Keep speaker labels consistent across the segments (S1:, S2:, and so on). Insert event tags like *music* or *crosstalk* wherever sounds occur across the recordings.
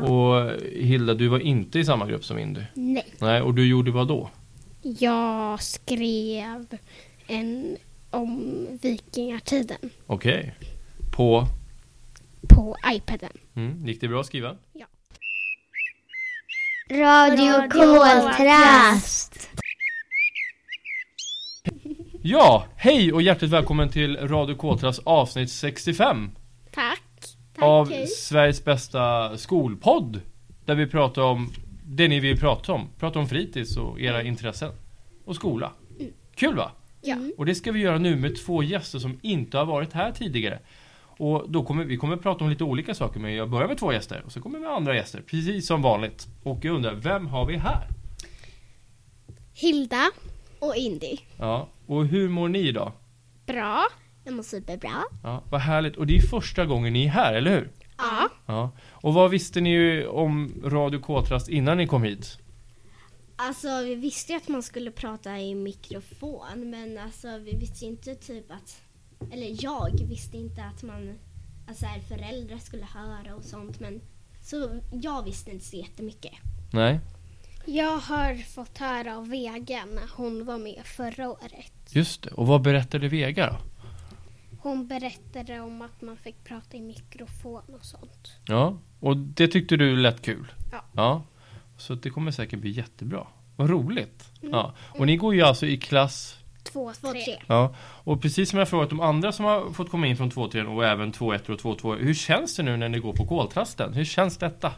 S1: Och Hilda, du var inte i samma grupp som Indy.
S2: Nej.
S1: Nej, och du gjorde vad då?
S2: Jag skrev en om vikingatiden
S1: Okej. På?
S2: på iPaden.
S1: Mm, gick det bra att skriva?
S3: Radio Koltrast.
S1: Ja, hej och hjärtligt välkommen till Radio Kåtras avsnitt 65
S2: Tack. Tack
S1: av
S2: hej.
S1: Sveriges bästa skolpodd. Där vi pratar om det ni vill prata om. Prata om fritids och era intressen. Och skola.
S2: Mm.
S1: Kul va?
S2: Ja.
S1: Och det ska vi göra nu med två gäster som inte har varit här tidigare. Och då kommer vi kommer prata om lite olika saker men jag börjar med två gäster och så kommer vi med andra gäster precis som vanligt. Och jag undrar, vem har vi här?
S2: Hilda och Indy.
S1: Ja, och hur mår ni idag?
S2: Bra. Jag mår superbra.
S1: Ja, vad härligt. Och det är första gången ni är här, eller hur?
S2: Ja.
S1: Ja. Och vad visste ni ju om Radio K-trast innan ni kom hit?
S3: Alltså vi visste ju att man skulle prata i mikrofon men alltså vi visste ju inte typ att, eller jag visste inte att man, alltså här, föräldrar skulle höra och sånt men så jag visste inte så jättemycket.
S1: Nej.
S2: Jag har fått höra av Vega när hon var med förra året.
S1: Just det. Och vad berättade Vega då?
S2: Hon berättade om att man fick prata i mikrofon och sånt.
S1: Ja. Och det tyckte du lät kul?
S2: Ja.
S1: Ja. Så att det kommer säkert bli jättebra. Vad roligt. Ja. Och ni går ju alltså i klass...
S2: Två,
S3: Två, tre.
S1: Ja. Och precis som jag frågat de andra som har fått komma in från 2-3 och även 2-1 och 2-2. Hur känns det nu när ni går på koltrasten? Hur känns detta?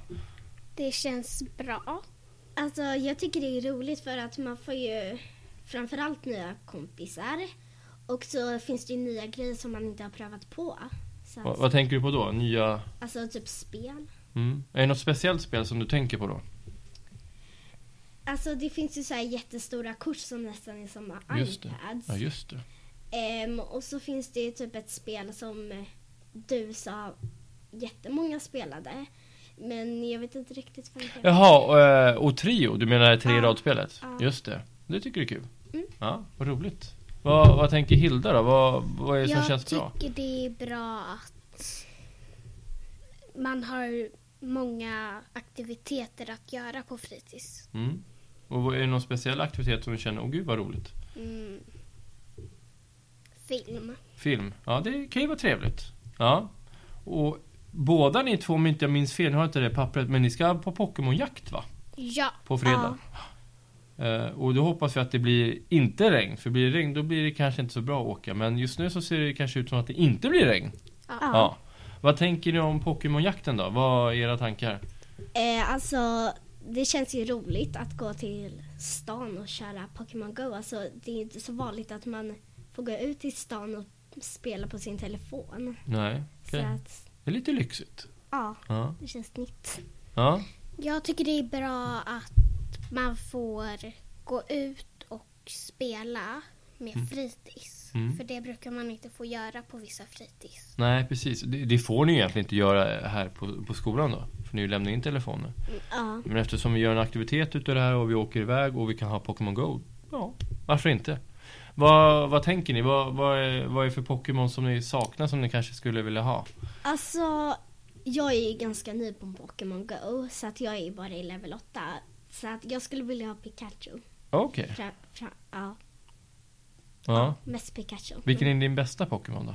S2: Det känns bra.
S3: Alltså jag tycker det är roligt för att man får ju framförallt nya kompisar och så finns det ju nya grejer som man inte har prövat på. Så
S1: Vad,
S3: att,
S1: vad tänker du på då? Nya...
S3: alltså typ spel.
S1: Mm. Är det något speciellt spel som du tänker på då?
S3: Alltså det finns ju så här jättestora kort som nästan är som
S1: Just det.
S3: iPads.
S1: Ja, just det.
S3: Ehm, och så finns det ju typ ett spel som eh, du sa jättemånga spelade. Men jag vet inte riktigt vad det heter.
S1: Jaha, och, eh, och Trio, du menar tre i
S3: Ja.
S1: radspelet?
S3: Ja.
S1: Just det, det tycker du är kul.
S3: Mm.
S1: Ja, vad roligt. Vad, vad tänker Hilda då? Vad, vad är det som
S2: Jag
S1: känns bra?
S2: tycker det är bra att man har många aktiviteter att göra på fritids.
S1: Mm. Och vad- är det någon speciell aktivitet som du känner, åh gud vad roligt?
S2: Mm. Film.
S1: Film, ja det kan ju vara trevligt. Ja. Och båda ni två, om inte jag minns fel, nu har jag inte det pappret, men ni ska på Pokémonjakt va?
S2: Ja.
S1: På fredag. Eh, och då hoppas vi att det blir inte regn, för blir det regn då blir det kanske inte så bra att åka. Men just nu så ser det kanske ut som att det inte blir regn. Ja. Vad tänker ni om Pokémonjakten då? Vad är era tankar?
S3: Eh, alltså det känns ju roligt att gå till stan och köra Pokémon Go. Alltså det är ju inte så vanligt att man får gå ut till stan och spela på sin telefon.
S1: Nej, okej.
S3: Så att,
S1: Det är lite lyxigt.
S3: ja,
S1: Ja.
S3: det känns nytt.
S1: ja.
S2: Jag tycker det är bra att man får gå ut och spela med fritids.
S1: Mm.
S2: För det brukar man inte få göra på vissa fritids.
S1: Nej, precis. Det, det får ni ju egentligen inte göra här på, på skolan då. För ni lämnar in telefoner.
S3: Ja,
S1: Men eftersom vi gör en aktivitet utav det här och vi åker iväg och vi kan ha Pokémon Go. Ja, varför inte? Vad, vad tänker ni? Vad, vad, är, vad är för Pokémon som ni saknar som ni kanske skulle vilja ha?
S3: alltså jag är ju ganska ny på Pokémon Go så att jag är ju bara i level 8. Så att jag skulle vilja ha Pikachu.
S1: Okej.
S3: Fra, fra, ja,
S1: Ja.
S3: mest Pikachu.
S1: Vilken är din bästa Pokémon då?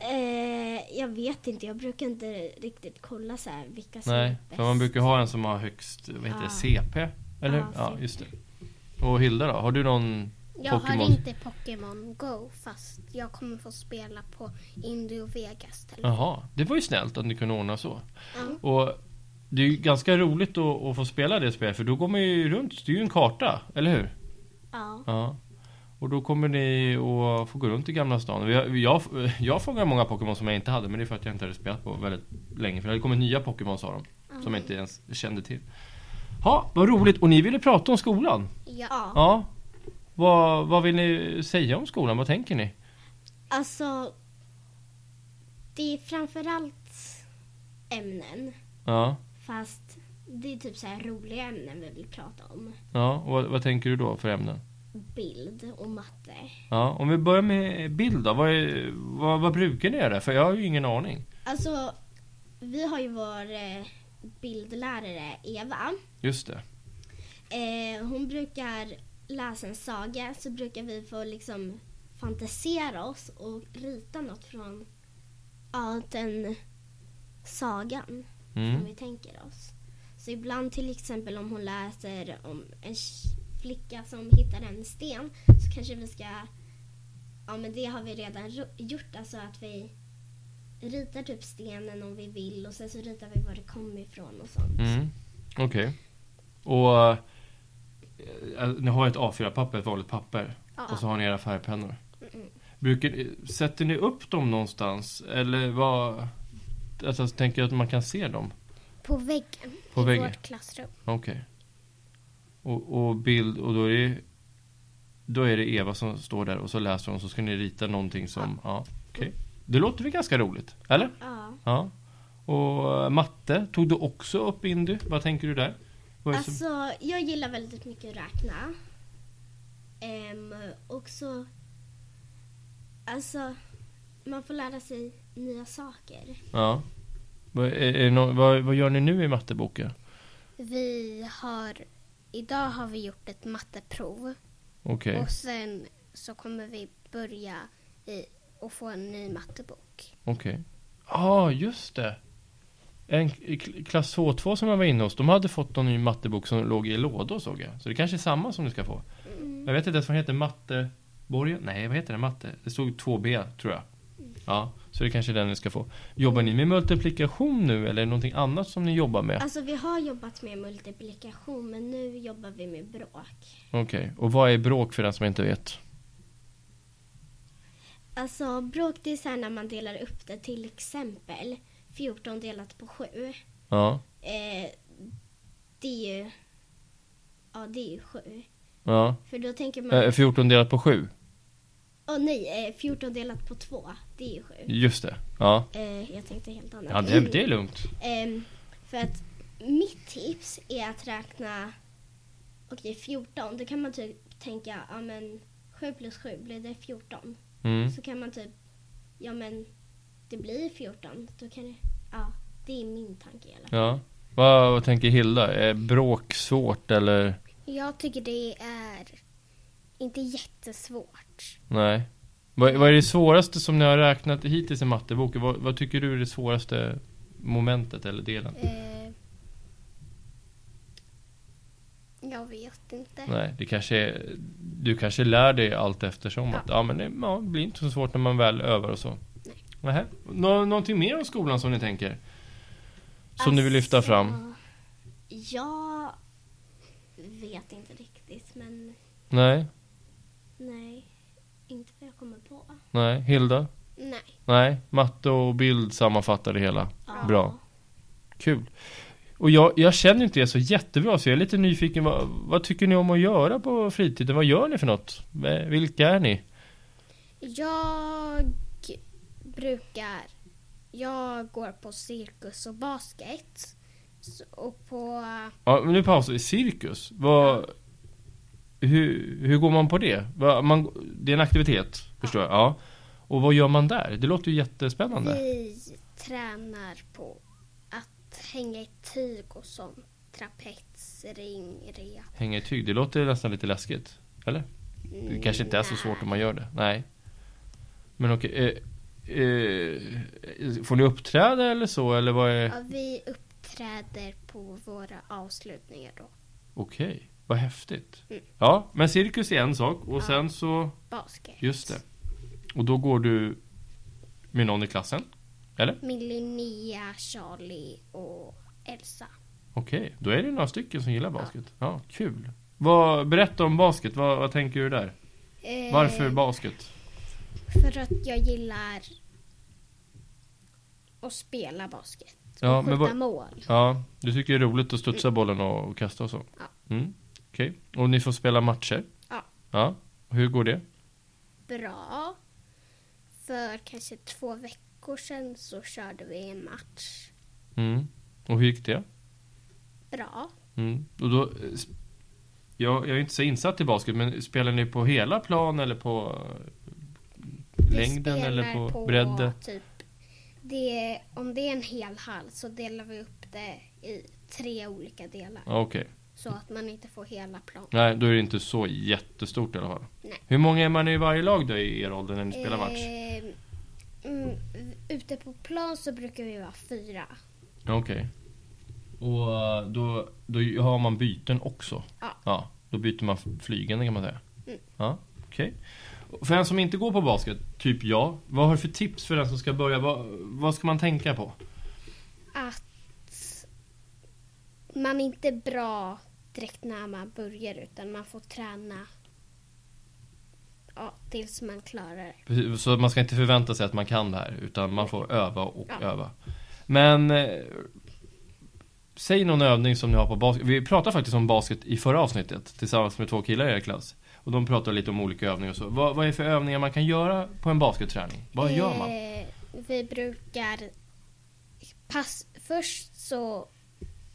S3: Eh, jag vet inte, jag brukar inte riktigt kolla så här vilka som är
S1: Nej,
S3: bäst.
S1: för man brukar ha en som har högst, vad
S2: Ah.
S1: heter det,
S3: Ja.
S1: CP? Eller
S3: Ja,
S1: hur? Ja,
S3: CP.
S1: just det. Och Hilda då? Har du någon
S2: Jag
S1: Pokémon?
S2: har inte Pokémon Go fast jag kommer få spela på Indy och Vegas. telefon.
S1: Jaha, det var ju snällt att ni kunde ordna så. Och det är ju ganska roligt att, att få spela det spelet för då går man ju runt, det är ju en karta, eller hur?
S3: Ja.
S1: Ja. Och då kommer ni att få gå runt i Gamla stan. Jag, jag, jag fångade många Pokémon som jag inte hade men det är för att jag inte hade spelat på väldigt länge. För det hade kommit nya Pokémon sa de. Som jag inte ens kände till. Ja, vad roligt. Och ni ville prata om skolan?
S2: Ja.
S3: ja.
S1: Ja. Vad, vad vill ni säga om skolan? Vad tänker ni?
S3: Alltså, det är framförallt ämnen.
S1: Ja.
S3: Fast det är typ så här roliga ämnen vi vill prata om.
S1: Ja, och vad, vad tänker du då för ämnen?
S3: Bild och matte.
S1: Ja, om vi börjar med bild då. Vad, är, vad, vad brukar ni göra? För jag har ju ingen aning.
S3: Alltså, vi har ju vår eh, bildlärare, Eva.
S1: Just det.
S3: Eh, hon brukar läsa en saga så brukar vi få liksom fantisera oss och rita något från ja, den sagan
S1: Mm.
S3: som vi tänker oss. Så ibland till exempel om hon läser om en tj- flicka som hittar en sten så kanske vi ska, ja men det har vi redan ro- gjort, alltså att vi ritar typ stenen om vi vill och sen så ritar vi var det kommer ifrån och sånt.
S1: Mm. Okej. Och eh, eh, ni har ett A4-papper, ett vanligt papper.
S2: Ja.
S1: Och så har ni era färgpennor.
S3: Mm.
S1: Brukar, eh, sätter ni upp dem någonstans? Eller vad... Alltså, tänker jag att man kan se dem?
S2: På väggen
S1: På
S2: i
S1: väggen?
S2: vårt klassrum.
S1: Okej. Och, och bild, och då är det... Då är det Eva som står där och så läser hon så ska ni rita någonting som... Ja. Okej. Det låter väl ganska roligt? Eller?
S3: Ja.
S1: Ja. Och eh, matte, tog du också upp Indy? Vad tänker du där? Vad är det som-
S3: Alltså, jag gillar väldigt mycket att räkna. Ehm, och så... Alltså, man får lära sig nya saker.
S1: Ja. Vad, är, är det nå- vad, vad gör ni nu i matteboken?
S2: Vi har, idag har vi gjort ett matteprov
S1: Okej.
S2: och sen så kommer vi börja i, och få en ny mattebok.
S1: Okej. Ja, ah, just det. En i kl- klass H2 som jag var inne hos, de hade fått någon ny mattebok som låg i lådor såg jag. Så det kanske är samma som ni ska få. Jag vet inte ens vad den heter, Matteborgen? Nej, vad heter den? Matte? Det stod 2B, tror jag. Ja, så det kanske är den ni ska få. Jobbar ni med multiplikation nu eller är det någonting annat som ni jobbar med?
S3: Alltså, vi har jobbat med multiplikation, men nu jobbar vi med bråk.
S1: Okej, och vad är bråk för den som inte vet?
S3: Alltså, bråk det är så här när man delar upp det, till exempel 14 delat på 7.
S1: Ja,
S3: Eh, det är ju... Ja, det är ju 7.
S1: ja.
S3: För då tänker man...
S1: Eh, 14 delat på 7.
S3: Åh nej, eh, 14 delat på 2, det är ju 7.
S1: Just det. Ja,
S3: Eh, jag tänkte helt annat.
S1: ja det, det är lugnt.
S3: Ehm, för att mitt tips är att räkna, okej 14, då kan man typ tänka, ja men 7 plus 7 blir det 14.
S1: Mm.
S3: Så kan man typ, ja men det blir 14, då kan det, ja det är min tanke i alla fall.
S1: Ja. Vad, vad tänker Hilda? Är bråk svårt eller?
S2: Jag tycker det är inte jättesvårt.
S1: Nej. Vad, vad är det svåraste som ni har räknat hittills i matteboken? Vad, vad tycker du är det svåraste momentet eller delen?
S2: Eh, jag vet inte.
S1: Nej, det kanske är, du kanske lär dig allt eftersom. Att, ja, men det ja, det blir inte så svårt när man väl övar och så. Nej. Nå, någonting mer om skolan som ni tänker? Som ni vill lyfta
S3: Alltså,
S1: fram?
S3: Jag vet inte riktigt, men
S1: Nej,
S3: nej, inte vad jag kommer på.
S1: nej. Hilda?
S2: Nej.
S1: Nej, matte och bild sammanfattar det hela.
S3: Ja.
S1: Bra. Kul. Och jag, jag känner inte det så jättebra så jag är lite nyfiken. Vad, vad tycker ni om att göra på fritiden? Vad gör ni för något? V- Vilka är ni?
S2: Jag brukar... Jag går på cirkus och basket. S- Och på...
S1: Ja, men nu pausar vi. Cirkus? Vad, hur, hur går man på det? Vad- man, det är en aktivitet, förstår jag. Ja. Och vad gör man där? Det låter ju jättespännande.
S2: Vi tränar på att hänga i tyg och sånt. Trapets, ring, rep.
S1: Hänga i tyg, det låter nästan lite läskigt. Eller? Det kanske inte är så svårt om man gör det. Nej. Men okej. eh, eh, får ni uppträda eller så? Eller vad är...
S2: Ja, vi uppträder på våra avslutningar då.
S1: Okej, vad häftigt.
S2: Mm.
S1: Ja, men cirkus är en sak och sen så...
S2: Basket.
S1: Just det. Och då går du med någon i klassen? Eller?
S2: Min Linnea, Charlie och Elsa.
S1: Okej, då är det några stycken som gillar basket. Ja, kul. Vad, berätta om basket, vad, vad tänker du där?
S2: Eh,
S1: Varför basket?
S2: För att jag gillar att spela basket.
S1: Ja,
S2: och
S1: men
S2: skjuta
S1: vad-
S2: mål.
S1: Ja, du tycker det är roligt att studsa bollen och, och kasta och så?
S2: Mm. Ja.
S1: Mm, Okej, och ni får spela matcher?
S2: Ja.
S1: Ja, hur går det?
S2: Bra. För kanske två veckor sedan så körde vi en match.
S1: Mm. Och hur gick det?
S2: Bra.
S1: Mm. Och då, eh, sp- jag, jag är inte så insatt i basket, men spelar ni på hela plan eller på eh,
S2: Vi
S1: längden
S2: spelar
S1: eller på, bredden?
S2: Typ, det, om det är en hel hall så delar vi upp det i tre olika delar.
S1: Ja, Okej.
S2: Så att man inte får hela plan.
S1: Nej, då är det inte så jättestort i alla fall.
S2: Nej.
S1: Hur många är man i varje lag då i er ålder när ni spelar match?
S2: Eh, mm, ute på plan så brukar vi vara fyra.
S1: Ja, Okej. Och eh, då, då har man byten också?
S2: Ja.
S1: ja då byter man flygande kan man säga?
S2: Mm.
S1: Ja, okej. För en som inte går på basket, typ jag, vad har du för tips för den som ska börja? Vad, vad ska man tänka på?
S2: Att man inte är bra direkt när man börjar utan man får träna ja, tills man klarar det.
S1: Precis, Så man ska inte förvänta sig att man kan det här utan man får öva och
S2: Ja.
S1: öva. Men eh, säg någon övning som ni har på basket. Vi pratade faktiskt om basket i förra avsnittet tillsammans med två killar i er klass. Och de pratade lite om olika övningar och så. Vad, vad är det för övningar man kan göra på en basketträning? Vad gör man?
S2: Eh, vi brukar pass, först så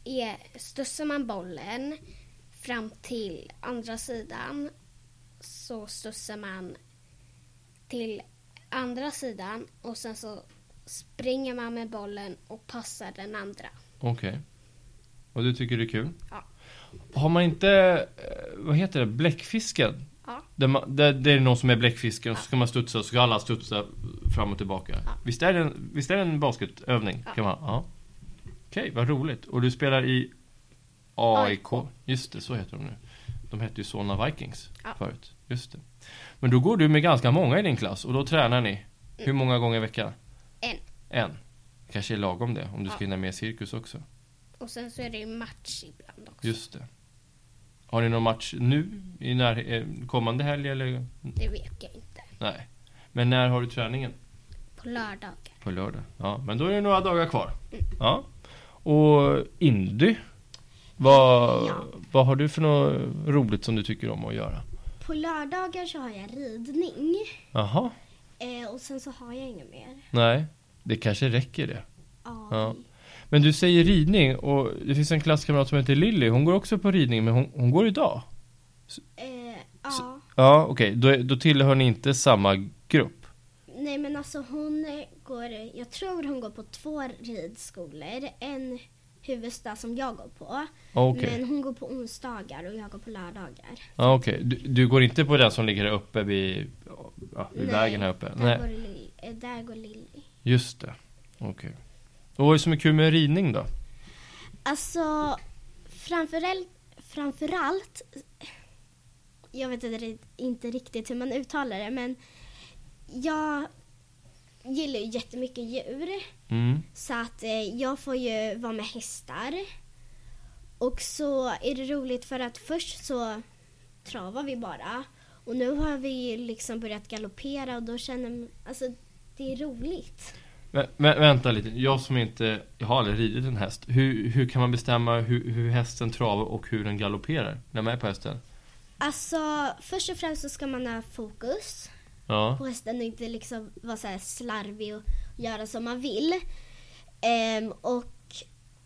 S2: är, stussar man bollen fram till andra sidan. Så stussar man till andra sidan och sen så springer man med bollen och passar den andra.
S1: Okej. Och du tycker det är kul?
S2: Ja.
S1: Har man inte, eh, vad heter det, bläckfisken?
S2: Ja.
S1: Där, man, där, där är det någon som är bläckfisken och så ska man studsa och så ska alla studsa fram och tillbaka.
S2: Ja.
S1: Visst, är det en, visst är det en basketövning?
S2: Ja.
S1: Kan man, ja. Okej, vad roligt. Och du spelar i AIK. Just det, så heter de nu. De hette ju Solna Vikings
S2: Ja.
S1: förut. Just det. Men då går du med ganska många i din klass och då tränar ni. Hur många gånger i veckan?
S2: En.
S1: En. kanske är lagom det om du ska
S2: Ja.
S1: hinna med cirkus också.
S2: Och sen så är det ju match ibland också.
S1: Just det. Har ni någon match nu? I när, eh, kommande helg eller?
S2: Det vet jag inte.
S1: Nej. Men när har du träningen?
S2: På lördagar.
S1: På lördag. Ja, men då är det några dagar kvar. Ja. Och Indy? Vad,
S3: Ja.
S1: vad har du för något roligt som du tycker om att göra?
S3: På lördagar så har jag ridning
S1: Jaha.
S3: eh, och sen så har jag inget mer.
S1: Nej. Det kanske räcker det.
S3: Ja.
S1: Ja. Men du säger ridning och det finns en klasskamrat som heter Lilly. Hon går också på ridning men hon, hon går idag.
S3: Eh, ja.
S1: Så- Ja, okej. Då, då tillhör ni inte samma grupp.
S3: Nej men alltså hon eh, går, jag tror hon går på två ridskolor. En huvudstad som jag går på.
S1: Okej.
S3: Men hon går på onsdagar och jag går på lördagar.
S1: Ja, okej. Du, du går inte på den som ligger där uppe vid, ja, vid
S3: Nej,
S1: vägen här uppe?
S3: Där,
S1: Nej,
S3: Går, Lil- eh, där går Lilly.
S1: just det. Okej. Och vad är det som är kul med ridning då?
S3: Alltså framförallt, framförallt jag vet inte ri- inte riktigt hur man uttalar det men jag gillar ju jättemycket djur
S1: Mm.
S3: så att eh, jag får ju vara med hästar. Och så är det roligt för att först så travar vi bara och nu har vi ju liksom börjat galoppera och då känner alltså det är roligt.
S1: Vä vä vänta lite, jag som inte, jag har aldrig ridit en häst. Hur, hur kan man bestämma hur, hur hästen travar och hur den galopperar när man är på hästen?
S3: Alltså först och främst så ska man ha fokus
S1: Ja,
S3: på hästen och inte liksom vara så här slarvig och göra som man vill. Ehm, och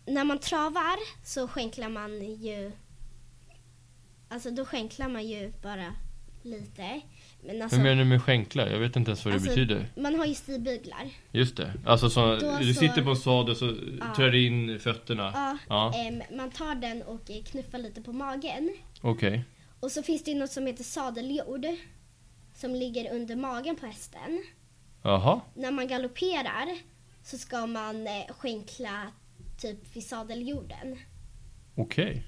S3: när man travar så skänklar man ju... Alltså då skänklar man ju bara lite. Men alltså,
S1: hur menar du med skänkla? Jag vet inte ens vad det
S3: Alltså-
S1: betyder.
S3: man har ju stigbyglar.
S1: Just det. Alltså så,
S3: Då
S1: du
S3: så-
S1: sitter på en sadel så
S3: Ja.
S1: trär du in fötterna.
S3: Ja,
S1: Ja.
S3: ehm, man tar den och eh, knuffar lite på magen.
S1: Okej.
S3: Och så finns det ju något som heter sadeljord som ligger under magen på hästen.
S1: Jaha.
S3: När man galopperar så ska man eh, skänkla typ vid sadeljorden.
S1: Okej.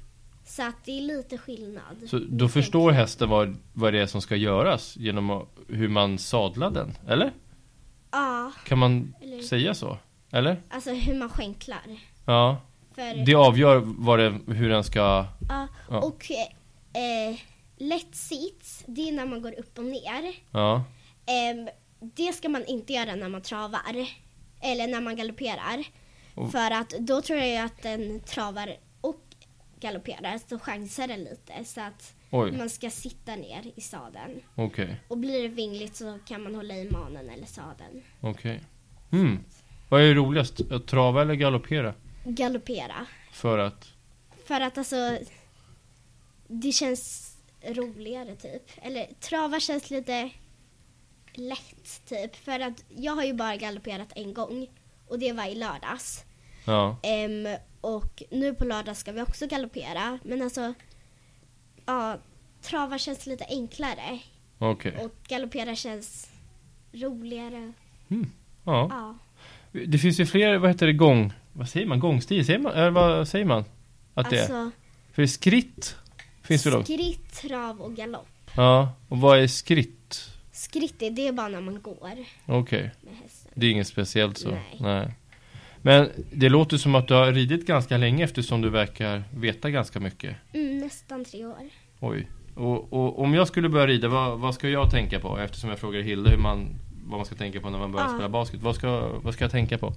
S3: Så att det är lite skillnad.
S1: Så då förstår hästen vad, vad det är som ska göras genom att- hur man sadlar den, eller?
S3: Ja,
S1: Kan man
S3: eller
S1: säga så? Eller?
S3: alltså hur man skänklar.
S1: Ja,
S3: För,
S1: det avgör vad det, hur den ska...
S3: ja,
S1: ja.
S3: Och eh, eh, lätt sits, det är när man går upp och ner.
S1: Ja,
S3: Ehm, det ska man inte göra när man travar. Eller när man galopperar.
S1: Och-
S3: För att då tror jag ju att den travar och galopperar, så chansar den lite. Så att
S1: oj,
S3: man ska sitta ner i sadeln.
S1: okej,
S3: Och blir det vingligt så kan man hålla i manen eller sadeln.
S1: okej. Hmm. Vad är roligast, att trava eller galoppera?
S3: Galoppera.
S1: För att...
S3: För att alltså det känns roligare typ. Eller travar känns lite lätt typ. För att jag har ju bara galopperat en gång och det var i lördags.
S1: Ja,
S3: Ehm, Och nu på lördag ska vi också galoppera. Men alltså, ja, travar känns lite enklare.
S1: Okej.
S3: Och galoppera känns roligare.
S1: Ja.
S3: Ja.
S1: Det finns ju fler, vad heter det, gång... Vad säger man? Gångstil? Säger man, eller vad säger man? Att det är?
S3: Alltså,
S1: För skritt finns det då?
S3: skritt, trav och galopp.
S1: Ja. Och vad är skritt?
S3: Skritt är det bara när man går
S1: Okej.
S3: med hästen.
S1: Det är inget speciellt så?
S3: Nej.
S1: Men det låter som att du har ridit ganska länge eftersom du verkar veta ganska mycket.
S3: Mm, nästan tre år.
S1: Oj. Och, och om jag skulle börja rida, vad, vad ska jag tänka på? Eftersom jag frågar Hilde hur man, vad man ska tänka på när man börjar
S3: Ja.
S1: spela basket. Vad ska, vad ska jag tänka på?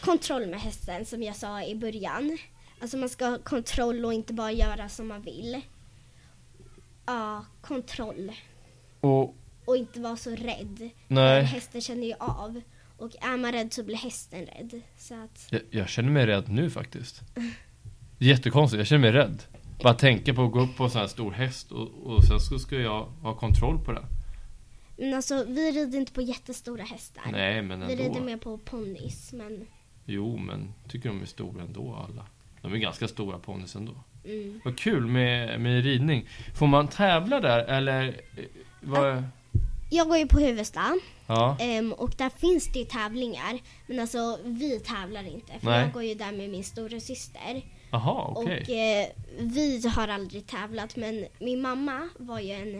S3: Kontroll med hästen som jag sa i början. Alltså man ska ha kontroll och inte bara göra som man vill. Ja, kontroll.
S1: Och,
S3: Och inte vara så rädd. För
S1: nej,
S3: Hästen känner ju av. Och är man rädd så blir hästen rädd. Så att,
S1: jag, jag känner mig rädd nu faktiskt. Jättekonstigt, jag känner mig rädd. Bara tänka på att gå upp på en sån här stor häst och, och sen så ska jag ha kontroll på den.
S3: men alltså vi rider inte på jättestora hästar.
S1: Nej, men
S3: vi rider
S1: ändå.
S3: mer på ponnys. Men
S1: Jo, men tycker de är stora ändå alla. De är ganska stora ponnys ändå.
S3: mm.
S1: Vad kul med, med ridning. Får man tävla där eller? eh, Vad,
S3: Jag går ju på Huvudsta.
S1: ja.
S3: Ehm, och där finns det ju tävlingar. Men alltså vi tävlar inte. För
S1: Nej.
S3: jag går ju där med min stora syster.
S1: Jaha, okej.
S3: Och eh, vi har aldrig tävlat. Men min mamma var ju en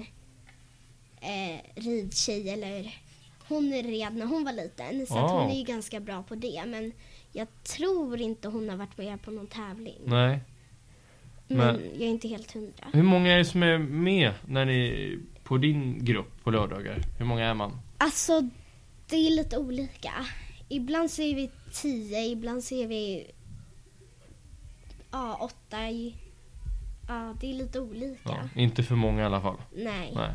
S3: eh, ridtjej. Eller, hon red när hon var liten. Så att
S1: Wow.
S3: hon är ju ganska bra på det. Men jag tror inte hon har varit med på någon tävling.
S1: Nej.
S3: Men
S1: men-
S3: jag är inte helt hundra.
S1: Hur många är det som är med när ni, på din grupp på lördagar? Hur många är man?
S3: Alltså det är lite olika. Ibland så är vi tio, ibland så är vi ja, åtta. i- Ja, det är lite olika.
S1: Ja, Inte för många i alla fall.
S3: Nej.
S1: Nej.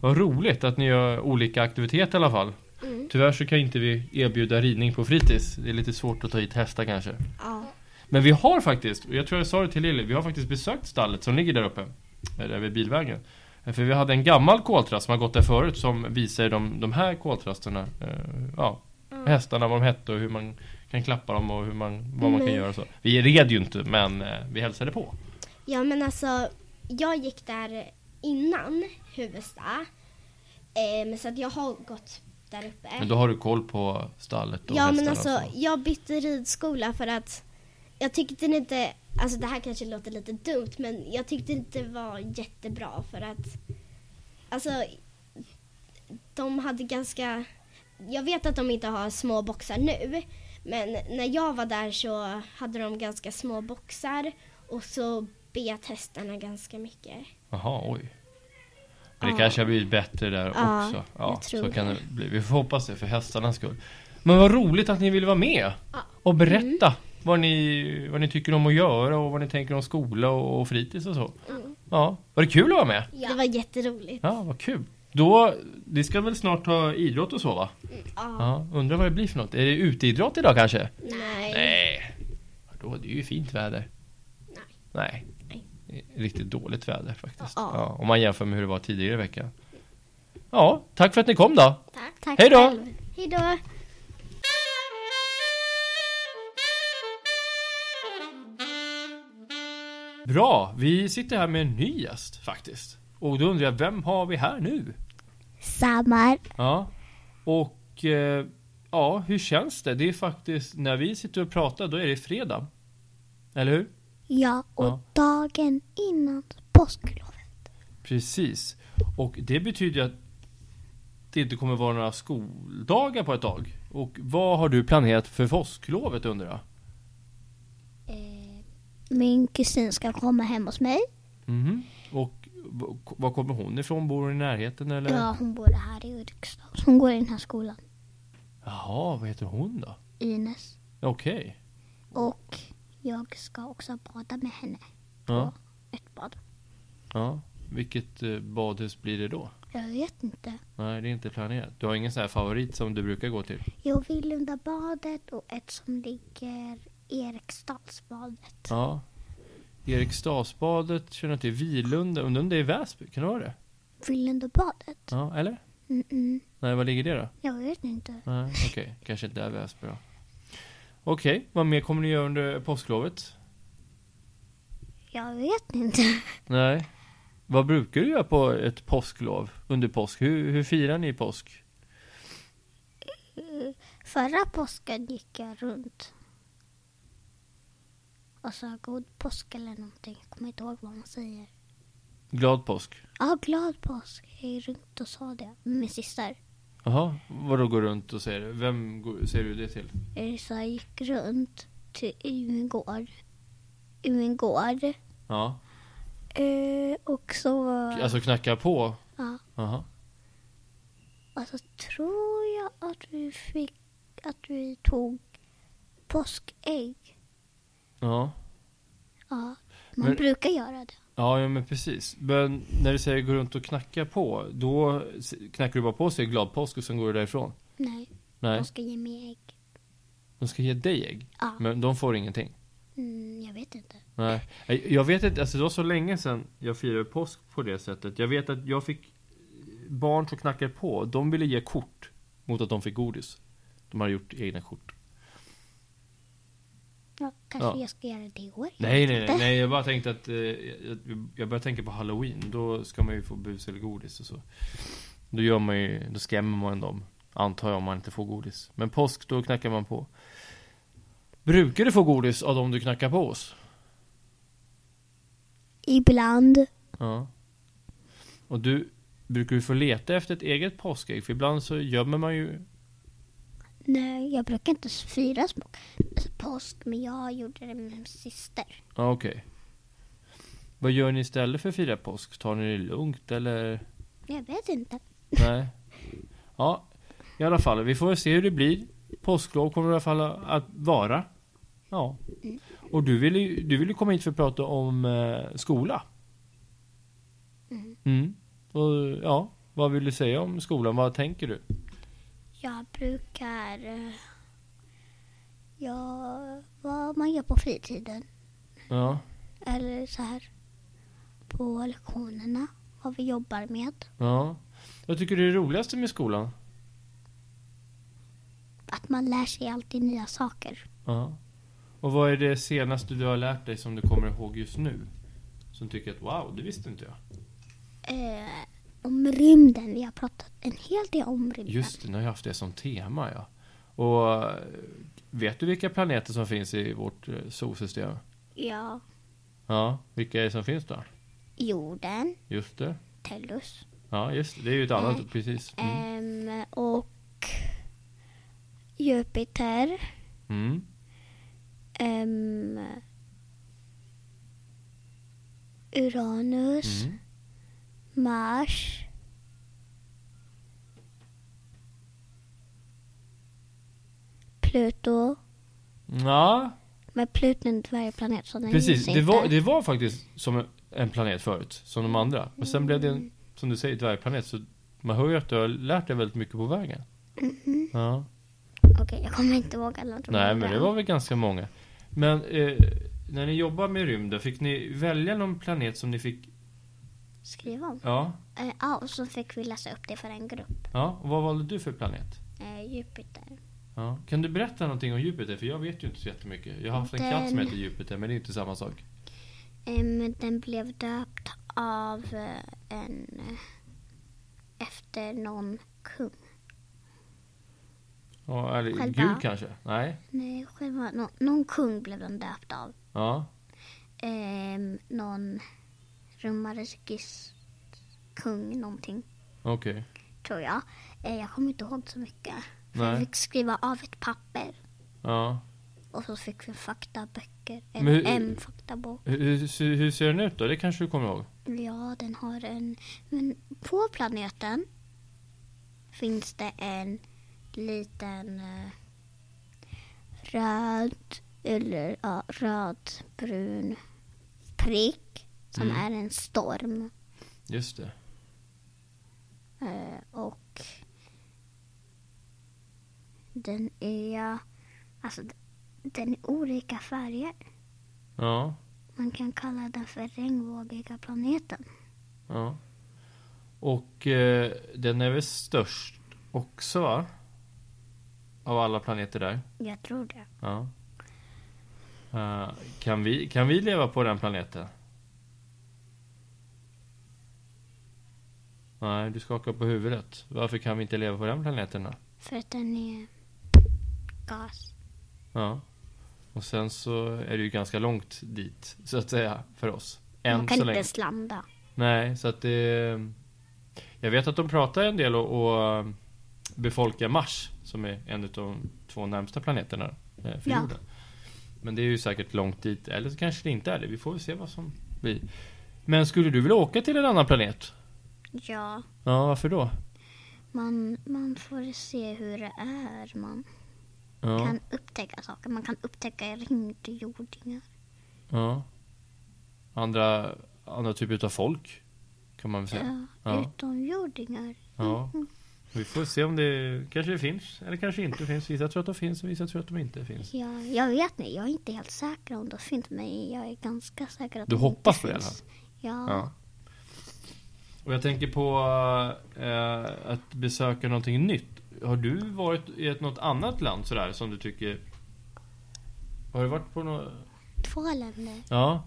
S1: Vad roligt att ni gör olika aktiviteter i alla fall.
S3: Mm.
S1: Tyvärr så kan inte vi erbjuda ridning på fritids. Det är lite svårt att ta hit hästar kanske.
S3: Ja.
S1: Men vi har faktiskt, och jag tror jag sa det till Lilly, vi har faktiskt besökt stallet som ligger där uppe. eh, Där vid bilvägen. Eh, För vi hade en gammal koltrast som har gått där förut som visar de, de här koltrasterna. eh, ja,
S3: Mm.
S1: hästarna, vad de hette och hur man kan klappa dem och hur man, vad man kan
S3: Nej.
S1: göra och så. Vi red ju inte men eh, vi hälsade på.
S3: ja, men alltså jag gick där innan Huvudsta. Eh, men så att jag har gått där uppe.
S1: Men då har du koll på stallet och
S3: ja, men
S1: hästarna
S3: alltså
S1: och så.
S3: jag bytte ridskola för att jag tyckte inte, alltså det här kanske låter lite dumt, men jag tyckte inte det var jättebra för att alltså de hade ganska, jag vet att de inte har små boxar nu, men när jag var där så hade de ganska små boxar och så bet hästarna ganska mycket.
S1: Jaha, oj. Men det
S3: Ja.
S1: kanske har blivit bättre där
S3: Ja,
S1: också.
S3: jag tror
S1: så kan
S3: det.
S1: det bli. Vi får hoppas det för hästarnas skull. Men vad roligt att ni vill vara med och berätta
S3: Mm.
S1: vad, ni, vad ni tycker om att göra och vad ni tänker om skola och, och fritids och så.
S3: Mm.
S1: Ja, var det kul att vara med?
S3: Det var jätteroligt.
S1: Ja, vad kul. Då, det ska väl snart ha idrott och så va?
S3: Mm. Ja.
S1: Ja, undrar vad det blir för något. Är det uteidrott idag kanske?
S3: Nej.
S1: Nej. Vadå, det är ju fint väder. Nej.
S3: Nej.
S1: Det är Riktigt dåligt väder faktiskt.
S3: Ja.
S1: Ja, om man jämför med hur det var tidigare i veckan. Ja, tack för att ni kom då.
S3: Tack. Tack
S1: Hej då.
S3: själv. Hej då.
S1: Bra, vi sitter här med en ny gäst faktiskt. Och då undrar jag, vem har vi här nu?
S4: Samar.
S1: Ja. Och eh, ja, hur känns det? Det är faktiskt, när vi sitter och pratar, då är det fredag. Eller hur?
S4: Ja, och
S1: Ja.
S4: dagen innan påsklovet.
S1: Precis. Och det betyder att det inte kommer vara några skoldagar på ett tag. Och vad har du planerat för påsklovet undrar jag?
S4: Min kusin ska komma hem hos mig.
S1: Mhm. Och v- var kommer hon ifrån? Bor hon i närheten eller?
S4: Ja, hon bor här i Ulriksdal. Hon går i den här skolan,
S1: Jaha, vad heter hon då?
S4: Ines.
S1: Okej.
S4: Och jag ska också bada med henne.
S1: Ja.
S4: Ett bad.
S1: ja. Vilket eh, badhus blir det då?
S4: Jag vet inte.
S1: Nej, det är inte planerat. Du har ingen sån här favorit som du brukar gå till?
S4: Jag vill lunda badet och ett som ligger i Eriksdalsbadet.
S1: Ja. Eriksdalsbadet känner jag till. Vilunda, undrar om det är i Väsby? Kan det vara det?
S4: Vill lunda badet?
S1: Ja, eller?
S4: Mm-mm.
S1: Nej, var ligger det då?
S4: Jag vet inte.
S1: Nej, okej. Kanske inte är Väsby då. Okej, Okej, vad mer kommer ni göra under påsklovet?
S4: Jag vet inte.
S1: Nej. Vad brukar du göra på ett påsklov? Under påsk? Hur, hur firar ni påsk?
S4: Förra påsken gick jag runt och sa god påsk eller någonting. Jag kommer inte ihåg vad man säger.
S1: Glad påsk?
S4: Ja, glad påsk. Jag gick runt och sa det med min syster.
S1: Jaha, vadå går runt och säger det? Vem går, säger du det till?
S4: Eh, Så jag gick runt till, i min gård. I min gård.
S1: Ja.
S4: Eh, och så var...
S1: Alltså knacka på?
S4: Ja.
S1: Jaha.
S4: Och så tror jag att vi fick... Att vi tog påskägg.
S1: Ja.
S4: Ja. Man
S1: Men-
S4: brukar göra det.
S1: Ja, ja men precis. Men när du säger gå runt och knacka på, då s- knackar du bara på och säger glad påsk och sen går du därifrån?
S4: Nej,
S1: Nej,
S4: de ska ge mig ägg.
S1: de ska ge dig ägg.
S4: Ja.
S1: Men de får ingenting.
S4: Mm, jag vet inte.
S1: Nej. Nej, Jag vet inte, alltså det var så länge sedan jag firade påsk på det sättet. Jag vet att jag fick eh, barn som knackade på, de ville ge kort mot att de fick godis. De hade gjort egna kort.
S4: Ja, kanske
S1: Ja.
S4: jag ska göra det i år.
S1: Nej, nej,
S4: inte.
S1: nej, nej jag bara tänkte att eh, jag, jag började tänka på halloween. Då ska man ju få bus eller godis och så. Då gör man ju, då skrämmer man dem. Antar jag om man inte får godis. Men påsk, då knackar man på. Brukar du få godis av dem du knackar på oss?
S4: Ibland.
S1: Ja. Och du, brukar du få leta efter ett eget påskägg? För ibland så gömmer man ju...
S4: Nej, jag brukar inte fira små- påsk, men jag gjorde det med min syster.
S1: Ja, okej. Vad gör ni istället för att fira påsk? Tar ni det lugnt eller? *laughs*
S4: Jag vet inte.
S1: Nej. Ja, i alla fall. Vi får väl se hur det blir. Påsklov kommer i alla fall att vara. Ja. Och du ville ju du ville komma hit för att prata om eh, skola. Mm. Och, ja, vad vill du säga om skolan? Vad tänker du?
S4: Jag brukar... eh, Ja, vad man gör på fritiden.
S1: Ja.
S4: Eller så här. På lektionerna. Vad vi jobbar med.
S1: ja. Jag tycker det är det roligaste med skolan.
S4: Att man lär sig alltid nya saker.
S1: Ja. Och vad är det senaste du har lärt dig som du kommer ihåg just nu? Som tycker att wow, det visste inte jag.
S4: Eh, om rymden. Vi har pratat en hel del om rymden.
S1: Just det, ni har ju haft det som tema ja. Och eh, vet du vilka planeter som finns i vårt eh, solsystem?
S4: Ja.
S1: Ja, vilka är det som finns då?
S4: Jorden.
S1: Just det.
S4: Tellus.
S1: Ja, just det. Det är ju ett annat, precis. Mm.
S4: Ehm, och Jupiter.
S1: Mm.
S4: Ehm, Uranus.
S1: Mm.
S4: Mars. Pluto.
S1: Mm. Ja,
S4: Men Pluto är inte varje planet så den
S1: precis.
S4: gills
S1: Det
S4: inte.
S1: var, det var faktiskt som en- en planet förut, som de andra. Men sen blev det,
S4: Mm.
S1: en, som du säger, dvärgplanet. Så man hör ju att du har lärt dig väldigt mycket på vägen. Ja.
S4: Okej, jag kommer inte ihåg alla de
S1: Nej,
S4: andra.
S1: men det var väl ganska många. Men eh, när ni jobbar med rymden, fick ni välja någon planet som ni fick?
S4: Skriv om.
S1: Ja.
S4: Eh, Ja, och så fick vi läsa upp det för en grupp.
S1: ja. Och vad valde du för planet?
S4: Eh, Jupiter.
S1: Ja. Kan du berätta någonting om Jupiter? För jag vet ju inte så jättemycket. Jag har haft en
S4: Den-
S1: katt som heter Jupiter, men det är inte samma sak.
S4: Ehm, den blev döpt av eh, en... eh, Efter någon kung.
S1: Ja, eller
S4: Själva.
S1: gud kanske? Nej.
S4: Nej, själva, nå- någon kung blev den döpt av.
S1: Ja.
S4: Ehm, någon romarkisk kung någonting,
S1: Okej.
S4: tror jag. Eh, jag kommer inte ihåg så mycket. För vi
S1: Nej.
S4: fick skriva av ett papper
S1: Ja.
S4: och så fick vi faktaböcker.
S1: Men hur-
S4: En, en faktabok.
S1: Hur, hur, hur ser den ut då? Det kanske du kommer ihåg?
S4: Ja, den har en... Men på planeten finns det en liten eh, röd eller ja, rödbrun prick som
S1: Mm.
S4: är en storm.
S1: Just det.
S4: Eh, och den är... Alltså, d- den är olika färger.
S1: Ja.
S4: Man kan kalla den för regnbågiga planeten.
S1: Ja. Och eh, den är väl störst också va? Av alla planeter där?
S4: Jag tror det.
S1: Ja. Eh, kan, vi, kan vi leva på den planeten? Nej, du skakar på huvudet. Varför kan vi inte leva på den planeten då?
S4: För att den är gas.
S1: Ja. Och sen så är det ju ganska långt dit, så att säga, för oss. Än
S4: Man kan
S1: så
S4: inte
S1: länge.
S4: ens landa.
S1: Nej, så att det... Jag vet att de pratar en del och, och befolkar Mars, som är en av de två närmsta planeterna eh, för
S4: Ja.
S1: jorden. Men det är ju säkert långt dit, eller så kanske det inte är det. Vi får väl se vad som blir. Men skulle du vilja åka till en annan planet?
S4: Ja,
S1: Ja, varför då?
S4: man, man får se hur det är. Man
S1: Ja,
S4: kan upptäcka saker. Man kan upptäcka rymdjordingar.
S1: ja. Andra, andra typer utav folk, kan man väl säga.
S4: Ja,
S1: Ja.
S4: Utomjordingar.
S1: Ja.
S4: Mm.
S1: Vi får se om det kanske det finns, eller kanske inte finns. Vissa tror att de finns och vissa tror att de inte finns.
S4: Ja, jag vet inte. Jag är inte helt säker om det finns, men jag är ganska säker att
S1: Du
S4: det inte
S1: hoppas på det i alla
S4: finns. Ja.
S1: Ja. Och jag tänker på eh, att besöka någonting nytt. Har du varit i ett, något annat land sådär som du tycker... Har du varit på något...
S4: Två länder.
S1: Ja.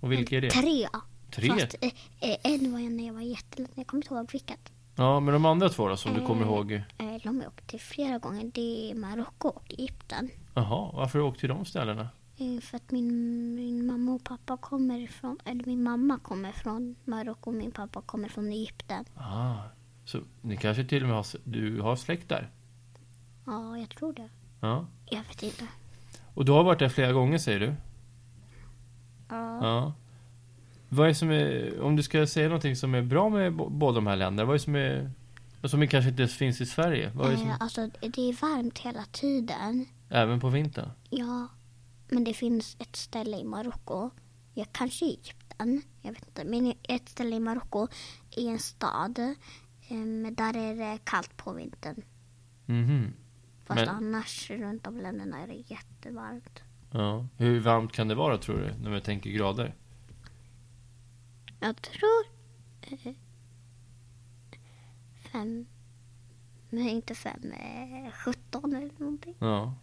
S1: Och vilka är det?
S4: Mm, Tre.
S1: Tre?
S4: Fast eh, eh, en var jag när jag var jätteliten. Jag kommer inte ihåg vilket.
S1: Ja, men de andra två då som du
S4: Eh.
S1: kommer ihåg?
S4: Eh, De har jag åkt till flera gånger. Det är Marocko och Egypten.
S1: Jaha, varför åkte du till de ställena?
S4: Eh, För att min, min mamma och pappa kommer ifrån, eller min mamma kommer från Marocko och min pappa kommer från Egypten.
S1: Ah, så ni kanske till och med har, s- du har släkt där?
S4: Ja, jag tror det.
S1: Ja.
S4: Jag vet inte.
S1: Och du har varit där flera gånger säger du?
S4: Ja.
S1: Ja. Vad är som är, om du ska säga någonting som är bra med bo- båda de här länderna, vad är som är, och som kanske inte ens finns i Sverige? Vad är som,
S4: Eh, Alltså, det är varmt hela tiden.
S1: Även på vintern?
S4: Ja, men det finns ett ställe i Marocko. Ja, kanske i Egypten. Jag vet inte. Men ett ställe i Marocko i en stad. em, Där är det kallt på vintern.
S1: Mhm.
S4: Fast
S1: Men-
S4: annars runt om länderna är det jättevarmt.
S1: Ja. Hur varmt kan det vara tror du, när vi tänker grader?
S4: Jag tror... eh, Fem... Nej, inte fem. eh, 17 eller någonting.
S1: Ja.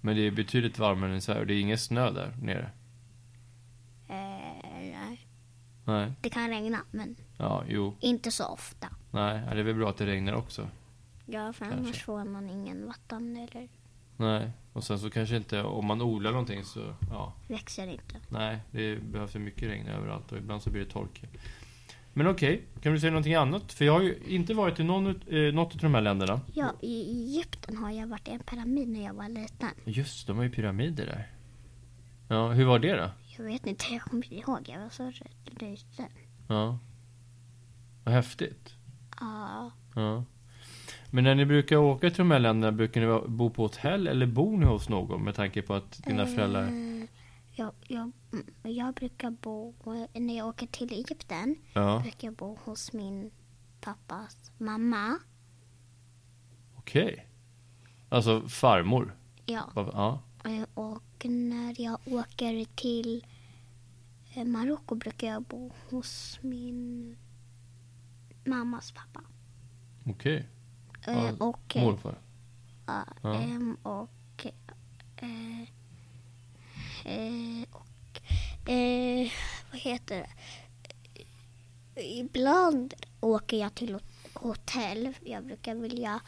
S1: Men det är betydligt varmare än i Sverige och det är ingen snö där nere?
S4: Eh, nej.
S1: Nej.
S4: Det kan regna, men
S1: Ja, jo.
S4: inte så ofta.
S1: Nej, ja, det är väl bra att det regnar också.
S4: Ja, för
S1: Kanske.
S4: annars får man ingen vatten eller
S1: Nej. Och sen så kanske inte, om man odlar någonting så, ja.
S4: växer inte.
S1: Nej, det behövs ju mycket regn överallt och ibland så blir det torka. Men okej, kan du säga någonting annat? För jag har ju inte varit i någon, ut- eh, något av de här länderna.
S4: Ja, i Egypten har jag varit i en pyramid när jag var liten.
S1: Just de har ju pyramider där. Ja, hur var det då?
S4: Jag vet inte, jag kommer inte ihåg. Jag var så rädd liten.
S1: Ja. Vad häftigt.
S4: Ja,
S1: Ja. Men när ni brukar åka till de här länderna, brukar ni va- bo på hotell eller bor ni hos någon? Med tanke på att dina föräldrar...
S4: eh, Jag, jag, mm, jag brukar bo, eh, när jag åker till Egypten,
S1: Ja,
S4: brukar jag bo hos min pappas mamma.
S1: okej. Alltså farmor?
S4: Ja,
S1: Ja.
S4: eh, och när jag åker till eh, Marocko brukar jag bo hos min mammas pappa.
S1: Okej.
S4: Eh,
S1: Ja,
S4: och,
S1: Morfar?
S4: Ja,
S1: Ja.
S4: ehm, och... Eh, eh, och eh, vad heter det? Ibland åker jag till hot- hotell. Jag brukar vilja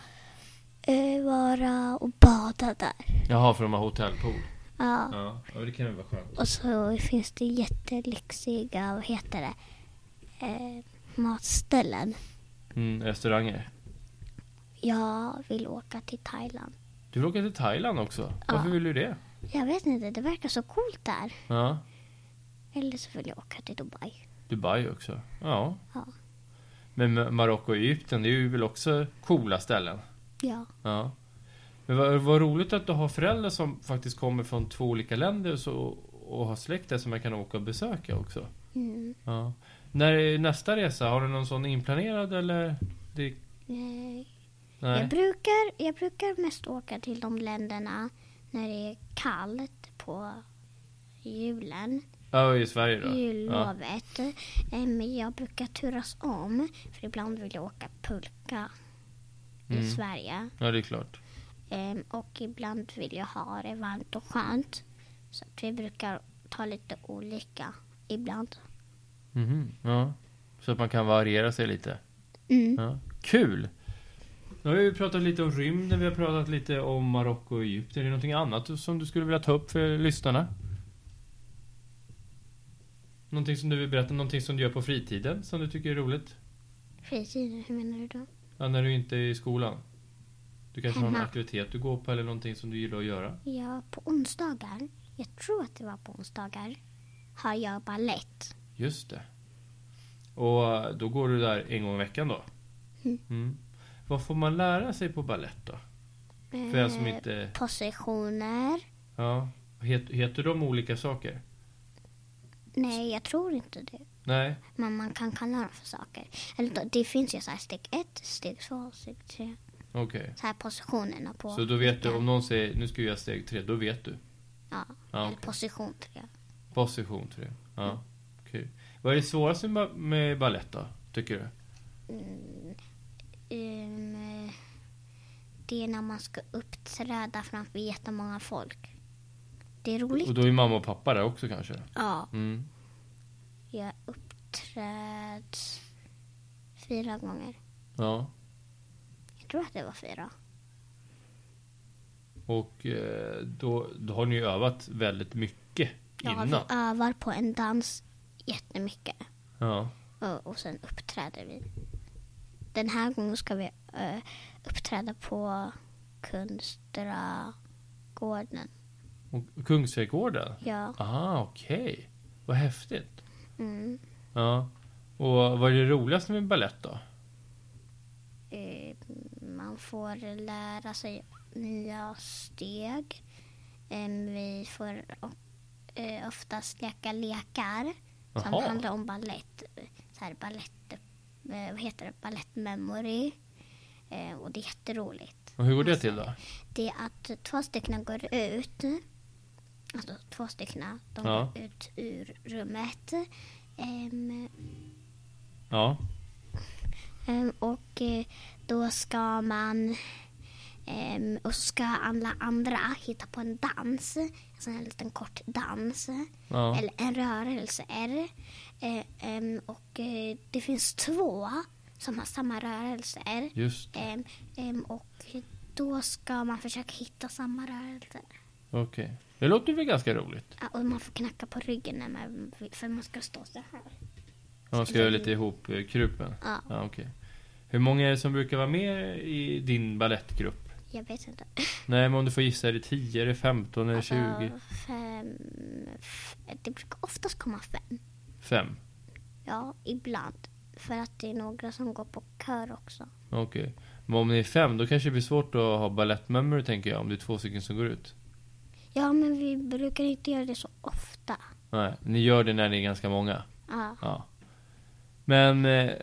S4: eh, vara och bada där.
S1: Jaha, för de har hotellpool?
S4: Ja.
S1: Ja, ja det kan ju vara skönt.
S4: Och så finns det jättelyxiga, vad heter det, eh, matställen.
S1: Mm, restauranger.
S4: Jag vill åka till Thailand.
S1: Du vill åka till Thailand också?
S4: Ja.
S1: Varför vill du det?
S4: Jag vet inte, det verkar så coolt där.
S1: Ja.
S4: Eller så vill jag åka till Dubai.
S1: Dubai också? Ja.
S4: Ja.
S1: Men Ma- Marocko och Egypten, det är ju väl också coola ställen?
S4: Ja.
S1: Ja. Men vad, vad roligt att du har föräldrar som faktiskt kommer från två olika länder och, så, och har släkt där som man kan åka och besöka också.
S4: Mm.
S1: Ja. När är nästa resa? Har du någon sån inplanerad eller? Det,
S4: Nej.
S1: nej.
S4: Jag, brukar, jag brukar mest åka till de länderna när det är kallt på julen,
S1: Ja, i Sverige då? Ja.
S4: jullovet. Eh, Men jag brukar turas om, för ibland vill jag åka pulka
S1: Mm.
S4: i Sverige. Ehm,
S1: ja, det är klart.
S4: Eh, Och ibland vill jag ha det varmt och skönt. Så att vi brukar ta lite olika ibland.
S1: Mhm, ja. Så att man kan variera sig lite.
S4: Mm.
S1: Ja. Kul! Nu har vi pratat lite om rymden, vi har pratat lite om Marocko och Egypten. Är det någonting annat som du skulle vilja ta upp för lyssnarna? Någonting som du vill berätta, någonting som du gör på fritiden som du tycker är roligt?
S4: Fritid, hur menar du då?
S1: Ja, när du inte är i skolan? Du kanske *laughs* har en
S4: Hemma.
S1: aktivitet du går på eller någonting som du gillar att göra?
S4: Ja, på onsdagar, jag tror att det var på onsdagar, har jag ballett.
S1: Just det. Och eh, då går du där en gång i veckan då? Mm. Vad får man lära sig på ballett då? För den som inte...
S4: Eh, Positioner.
S1: Ja. Het, heter de olika saker?
S4: Nej, jag tror inte det.
S1: Nej.
S4: Men man kan kalla dem för saker. Eller då- det finns ju så här steg ett, steg två, steg tre.
S1: Okej.
S4: Så här positionerna på.
S1: Så då vet du,
S4: vilka-
S1: om någon säger nu ska vi göra steg tre, då vet du?
S4: Ja, Mm.
S1: Ja,
S4: eller
S1: okej.
S4: position tre.
S1: Position tre. Ja. Kul. Vad är det svåraste med- med ballett då? Tycker du?
S4: Mm, ehm, eh, det är när man ska uppträda framför jättemånga folk. Det är roligt.
S1: Och då är mamma och pappa där också kanske?
S4: Ja,
S1: Mm.
S4: jag uppträd fyra gånger.
S1: Ja.
S4: Jag tror att det var fyra.
S1: Och eh, då, då har ni ju övat väldigt mycket
S4: Ja,
S1: innan.
S4: vi övar på en dans jättemycket.
S1: Ja.
S4: Och, och sen uppträder vi. Den här gången ska vi eh, uppträda på Kunstragården.
S1: Och Kungsträdgården?
S4: Ja.
S1: Ah, okej. Vad häftigt.
S4: Mm.
S1: Ja. Och vad är det roligaste med ballett då?
S4: Eh, man får lära sig nya steg. Eh, vi får o- eh, oftast leka lekar som
S1: Jaha.
S4: handlar om ballett. Så här ballett, eh, vad heter det? Ballett memory. Eh, och det är jätteroligt.
S1: Och hur går
S4: Alltså.
S1: det till då?
S4: Det är att två stycken går ut. Alltså två stycken. De
S1: Ja.
S4: går ut ur rummet. Ehm,
S1: Ja.
S4: ehm, och eh, då ska man... ehm, och så ska alla andra hitta på en dans. Alltså en liten kort dans.
S1: Ja.
S4: Eller en rörelse. R. Eh, ehm, och eh, det finns två som har samma rörelse. R.
S1: Just det.
S4: Ehm, ehm, och då ska man försöka hitta samma rörelse.
S1: Okej. Det låter väl ganska roligt?
S4: Ja, och man får knacka på ryggen när man, för man ska stå så här.
S1: Man ska göra lite ihop eh, krupen.
S4: Ja.
S1: Ja, okej. Hur många är det som brukar vara med i din ballettgrupp?
S4: Jag vet inte.
S1: Nej, men om du får gissa, är det 10, är det 15, är det
S4: Alltså-
S1: 20?
S4: fem, f- det brukar oftast komma fem.
S1: 5?
S4: Ja, ibland. För att det är några som går på kör också.
S1: Okej. Men om ni är fem, då kanske det blir svårt att ha balettmemory tänker jag, om det är två stycken som går ut.
S4: Ja, men vi brukar inte göra det så ofta.
S1: Nej, ni gör det när ni är ganska många.
S4: Ja,
S1: Ja. Men eh,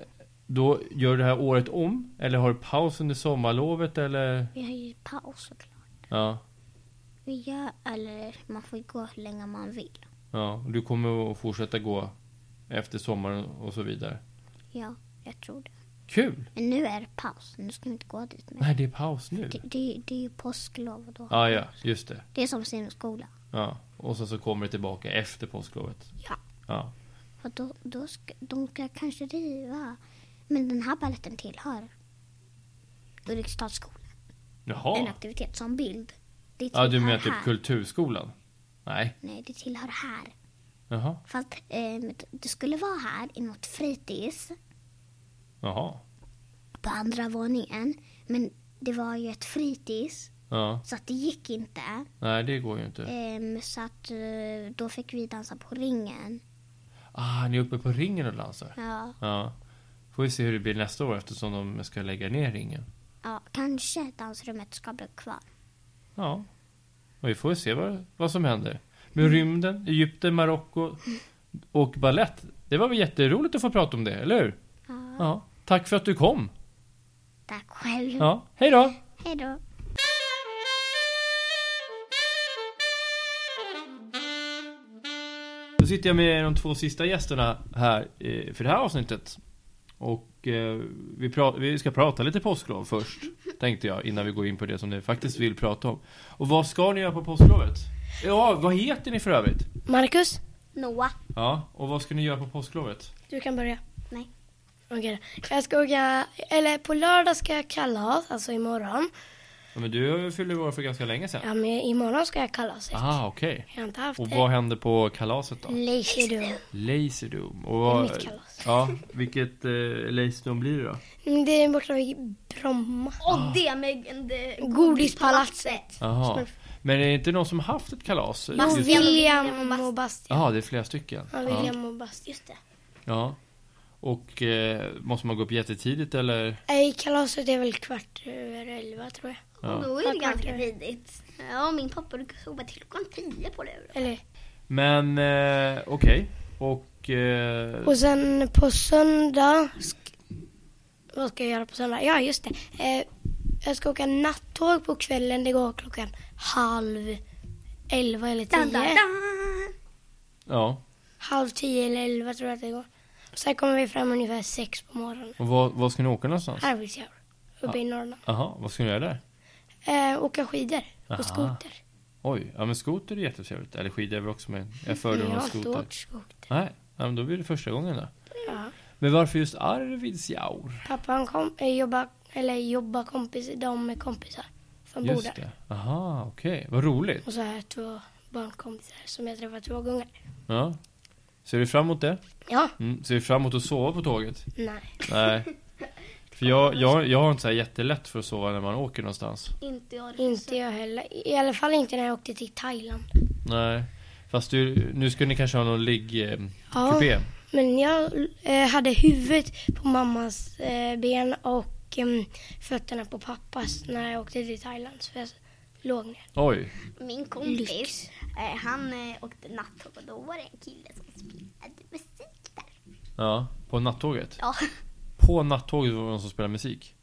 S1: då gör du det här året om? Eller har du paus under sommarlovet eller?
S4: vi har ju paus såklart.
S1: Ja.
S4: Vi gör, eller man får ju gå hur länge man vill.
S1: ja. Och Du kommer att fortsätta gå efter sommaren och så vidare.
S4: Ja, jag tror det.
S1: Kul!
S4: Men nu är det paus. Nu ska vi inte gå dit nu.
S1: Nej, det är paus nu.
S4: Det, det, det är ju påsklov och då.
S1: Ja, ja, just det.
S4: Det är som simskola.
S1: Ja. Och sen så kommer det tillbaka efter påsklovet.
S4: Ja.
S1: Ja.
S4: Och då, då ska, de ska kanske riva. Men den här baletten tillhör Ulriksdalsskolan. En
S1: Jaha.
S4: aktivitet som bild. Det
S1: Ja, du
S4: tillhör
S1: menar typ
S4: här.
S1: kulturskolan? Nej.
S4: Nej, det tillhör här.
S1: Jaha.
S4: Fast ehm, det skulle vara här i något fritids
S1: Jaha.
S4: på andra våningen. Men det var ju ett fritids
S1: Ja.
S4: så att det gick inte.
S1: Nej, det går ju inte.
S4: Ehm, så att eh, då fick vi dansa på ringen.
S1: Ah, ni är uppe på ringen och dansar?
S4: Ja,
S1: Ja. Får vi se hur det blir nästa år eftersom de ska lägga ner ringen.
S4: ja kanske dansrummet ska bli kvar.
S1: Ja. Och vi får se vad, vad som händer. Med
S4: Mm.
S1: rymden, Egypten, Marocko och ballett. Det var väl jätteroligt att få prata om det, eller hur?
S4: Ja.
S1: Ja. Tack för att du kom.
S4: Tack själv.
S1: Ja. Hej då!
S4: Hej då.
S1: Då sitter jag med de två sista gästerna här eh, för det här avsnittet. Och eh, vi, pra- vi ska prata lite påsklov först, tänkte jag, innan vi går in på det som ni faktiskt vill prata om. Och vad ska ni göra på påsklovet? Ja, vad heter ni för övrigt?
S5: Marcus,
S4: Noah.
S1: Ja, och vad ska ni göra på påsklovet?
S5: du kan börja.
S4: Nej.
S5: Okej då. Jag ska åka, eller på lördag ska jag kalas, alltså imorgon.
S1: Ja, men du fyllde år för ganska länge sedan.
S5: Ja men imorgon ska jag kalas.
S1: Ah, okej.
S5: Jag har inte haft
S1: Och
S5: det.
S1: vad hände på kalaset då?
S5: Lazy Doom.
S1: Lazydom. Och vad...
S5: Eh. Det är mitt kalas.
S1: Ja, vilket eh, Lazydom blir det då?
S5: Mm, Det är borta vid Bromma.
S3: Och det med en- det-
S5: Godispalatset.
S1: Jaha. Men är det inte någon som haft ett kalas?
S5: Jo,
S1: Just-
S5: William och Bastian.
S1: Jaha, det är flera stycken.
S5: Ja,
S1: Ja.
S5: William och Bastian. Just det.
S1: ja. Och eh, måste man gå upp jättetidigt eller?
S5: Nej, kalaset är väl kvart över elva tror jag.
S1: Ja.
S3: Då är det
S5: Tack,
S3: ganska
S5: Marcus.
S3: tidigt. Ja, min pappa brukar sova till klockan tio på det.
S5: Eller,
S1: Men eh, okej. Och... Eh,
S5: och sen på söndag... Sk- vad ska jag göra på söndag? Ja, just det. Eh, jag ska åka nattåg på kvällen. Det går klockan halv elva eller tio.
S3: Dan, dan, dan.
S1: ja.
S5: Halv tio eller elva tror jag att det går. Sen kommer vi fram ungefär sex på morgonen.
S1: Och vad, vad ska ni åka någonstans?
S5: Arvidsjaur. Uppe i Norrland.
S1: Jaha, vad ska ni göra där?
S5: Eh, åka skidor
S1: Aha.
S5: och skoter.
S1: Oj, ja men skoter är jättetrevligt. Eller skidor är väl också men jag föredrar
S5: Mm, jag
S1: nog
S5: har inte
S1: skoter.
S5: åkt skoter.
S1: Nej, ja, men då blir det första gången då.
S5: Ja.
S1: Men varför just Arvidsjaur?
S5: Pappa han kom, eh, jobba, eller jobba kompis, de är kompisar som bor
S1: Just
S5: där.
S1: det. Aha, okej. Vad roligt.
S5: Och så har jag två barnkompisar som jag träffat två gånger.
S1: Ja. Ser du fram emot det?
S5: Ja.
S1: Mm. Ser du fram emot att sova på tåget?
S5: Nej.
S1: Nej. För jag, jag, jag har inte så här jättelätt för att sova när man åker någonstans.
S3: Inte jag.
S5: Inte jag heller. I alla fall inte när jag åkte till Thailand.
S1: Nej. Fast du, nu skulle ni kanske ha någon eh, liggkupé?
S5: Ja. Men jag eh, hade huvudet på mammas eh, ben och em, fötterna på pappas när jag åkte till Thailand. Så jag låg ner.
S1: Oj.
S3: Min kompis, eh, han eh, åkte nattåg och då var det en kille som spelade musik där.
S1: Ja. På nattåget?
S3: Ja.
S1: På nattåget var det någon som spelade musik?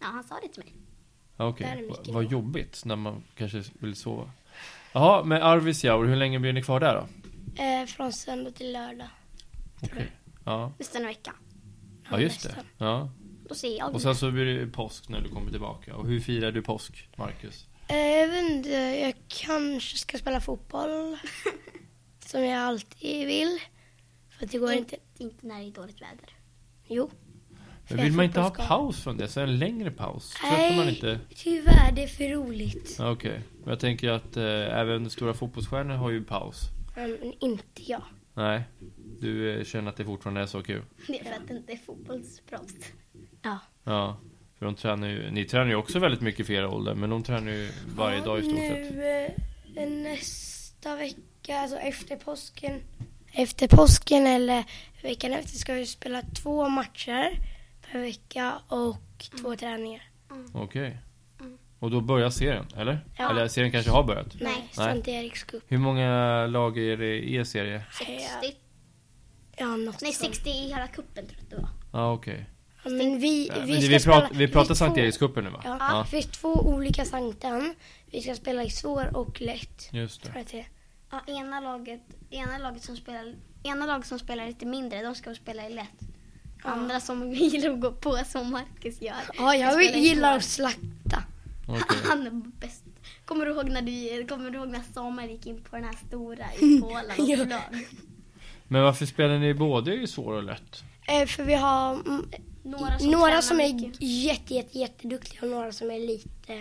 S3: Ja, han sa det till mig.
S1: Ja, Okej.
S5: Där är
S1: Va-
S5: mycket
S1: Vad
S5: bra.
S1: jobbigt när man kanske vill sova. Jaha, men Arvidsjaur, hur länge blir ni kvar där då?
S5: Eh, från söndag till lördag.
S1: Okej. Ja.
S3: Resten av veckan.
S1: ja, just det.
S5: nästan.
S1: Ja.
S3: Då ser jag.
S1: Och sen så blir det påsk när du kommer tillbaka. Och hur firar du påsk, Marcus?
S5: Eh, Jag vet inte, jag kanske ska spela fotboll. som jag alltid vill. För att det går inte.
S3: Inte när det är dåligt väder.
S5: Jo.
S1: Men
S5: För
S1: vill man inte ha
S5: fotbollsskada.
S1: paus från det? Så en längre paus? Tröttnar
S5: Nej.
S1: man inte?
S5: Tyvärr, det är för roligt.
S1: Ja, Okej. Men jag tänker att eh, även stora fotbollsstjärnor har ju paus.
S5: Men inte jag.
S1: Nej. Du eh, känner att det fortfarande är så kul?
S3: Det är för att det inte är fotbollsproffs.
S5: Ja.
S1: Ja. För de tränar ju, ni tränar ju också väldigt mycket för er ålder, men de tränar ju varje dag i stort sett.
S5: Nu eh, nästa vecka, alltså efter påsken. Efter påsken eller veckan efter ska vi spela två matcher per vecka och två träningar.
S1: Okej. Och då börjar serien, eller?
S5: Mm. Ja.
S1: Eller serien kanske har börjat?
S5: Nej, Sankt Eriks cup. Eh,
S1: Hur många lag är det i er serie?
S3: 60.
S5: Ja, något
S3: Nej,
S5: sånt.
S3: 60 i hela kuppen tror jag att det var.
S1: Ja, ah, okej.
S5: Ja, men vi,
S1: Ja,
S5: vi,
S1: men
S5: ska
S1: det- Vi,
S5: spela,
S1: pratar, vi pratar Sankt
S5: två-
S1: Erikscupen nu va?
S5: Ja, det finns två olika sankten. Vi ska spela i svår och lätt.
S1: Just det.
S5: Tror jag att det är.
S3: Ja, ena laget, ena laget som spelar ena laget som spelar lite mindre, de ska spela i lätt. Andra som gillar att gå på som Marcus gör.
S5: Ja,
S3: ska
S5: jag
S3: spela i
S5: gillar
S3: svår.
S5: att slakta.
S1: Okej.
S5: *laughs*
S3: Han är bäst. Kommer du ihåg när, du, kommer du ihåg när Samuel gick in på den här stora i Polen och
S5: Ja.
S3: flög?
S1: Men varför spelar ni både i svår och lätt?
S5: Eh, för vi har mm, några som,
S3: tränar
S5: är
S3: mycket.
S5: jätte, jätte, jätteduktiga och några som är lite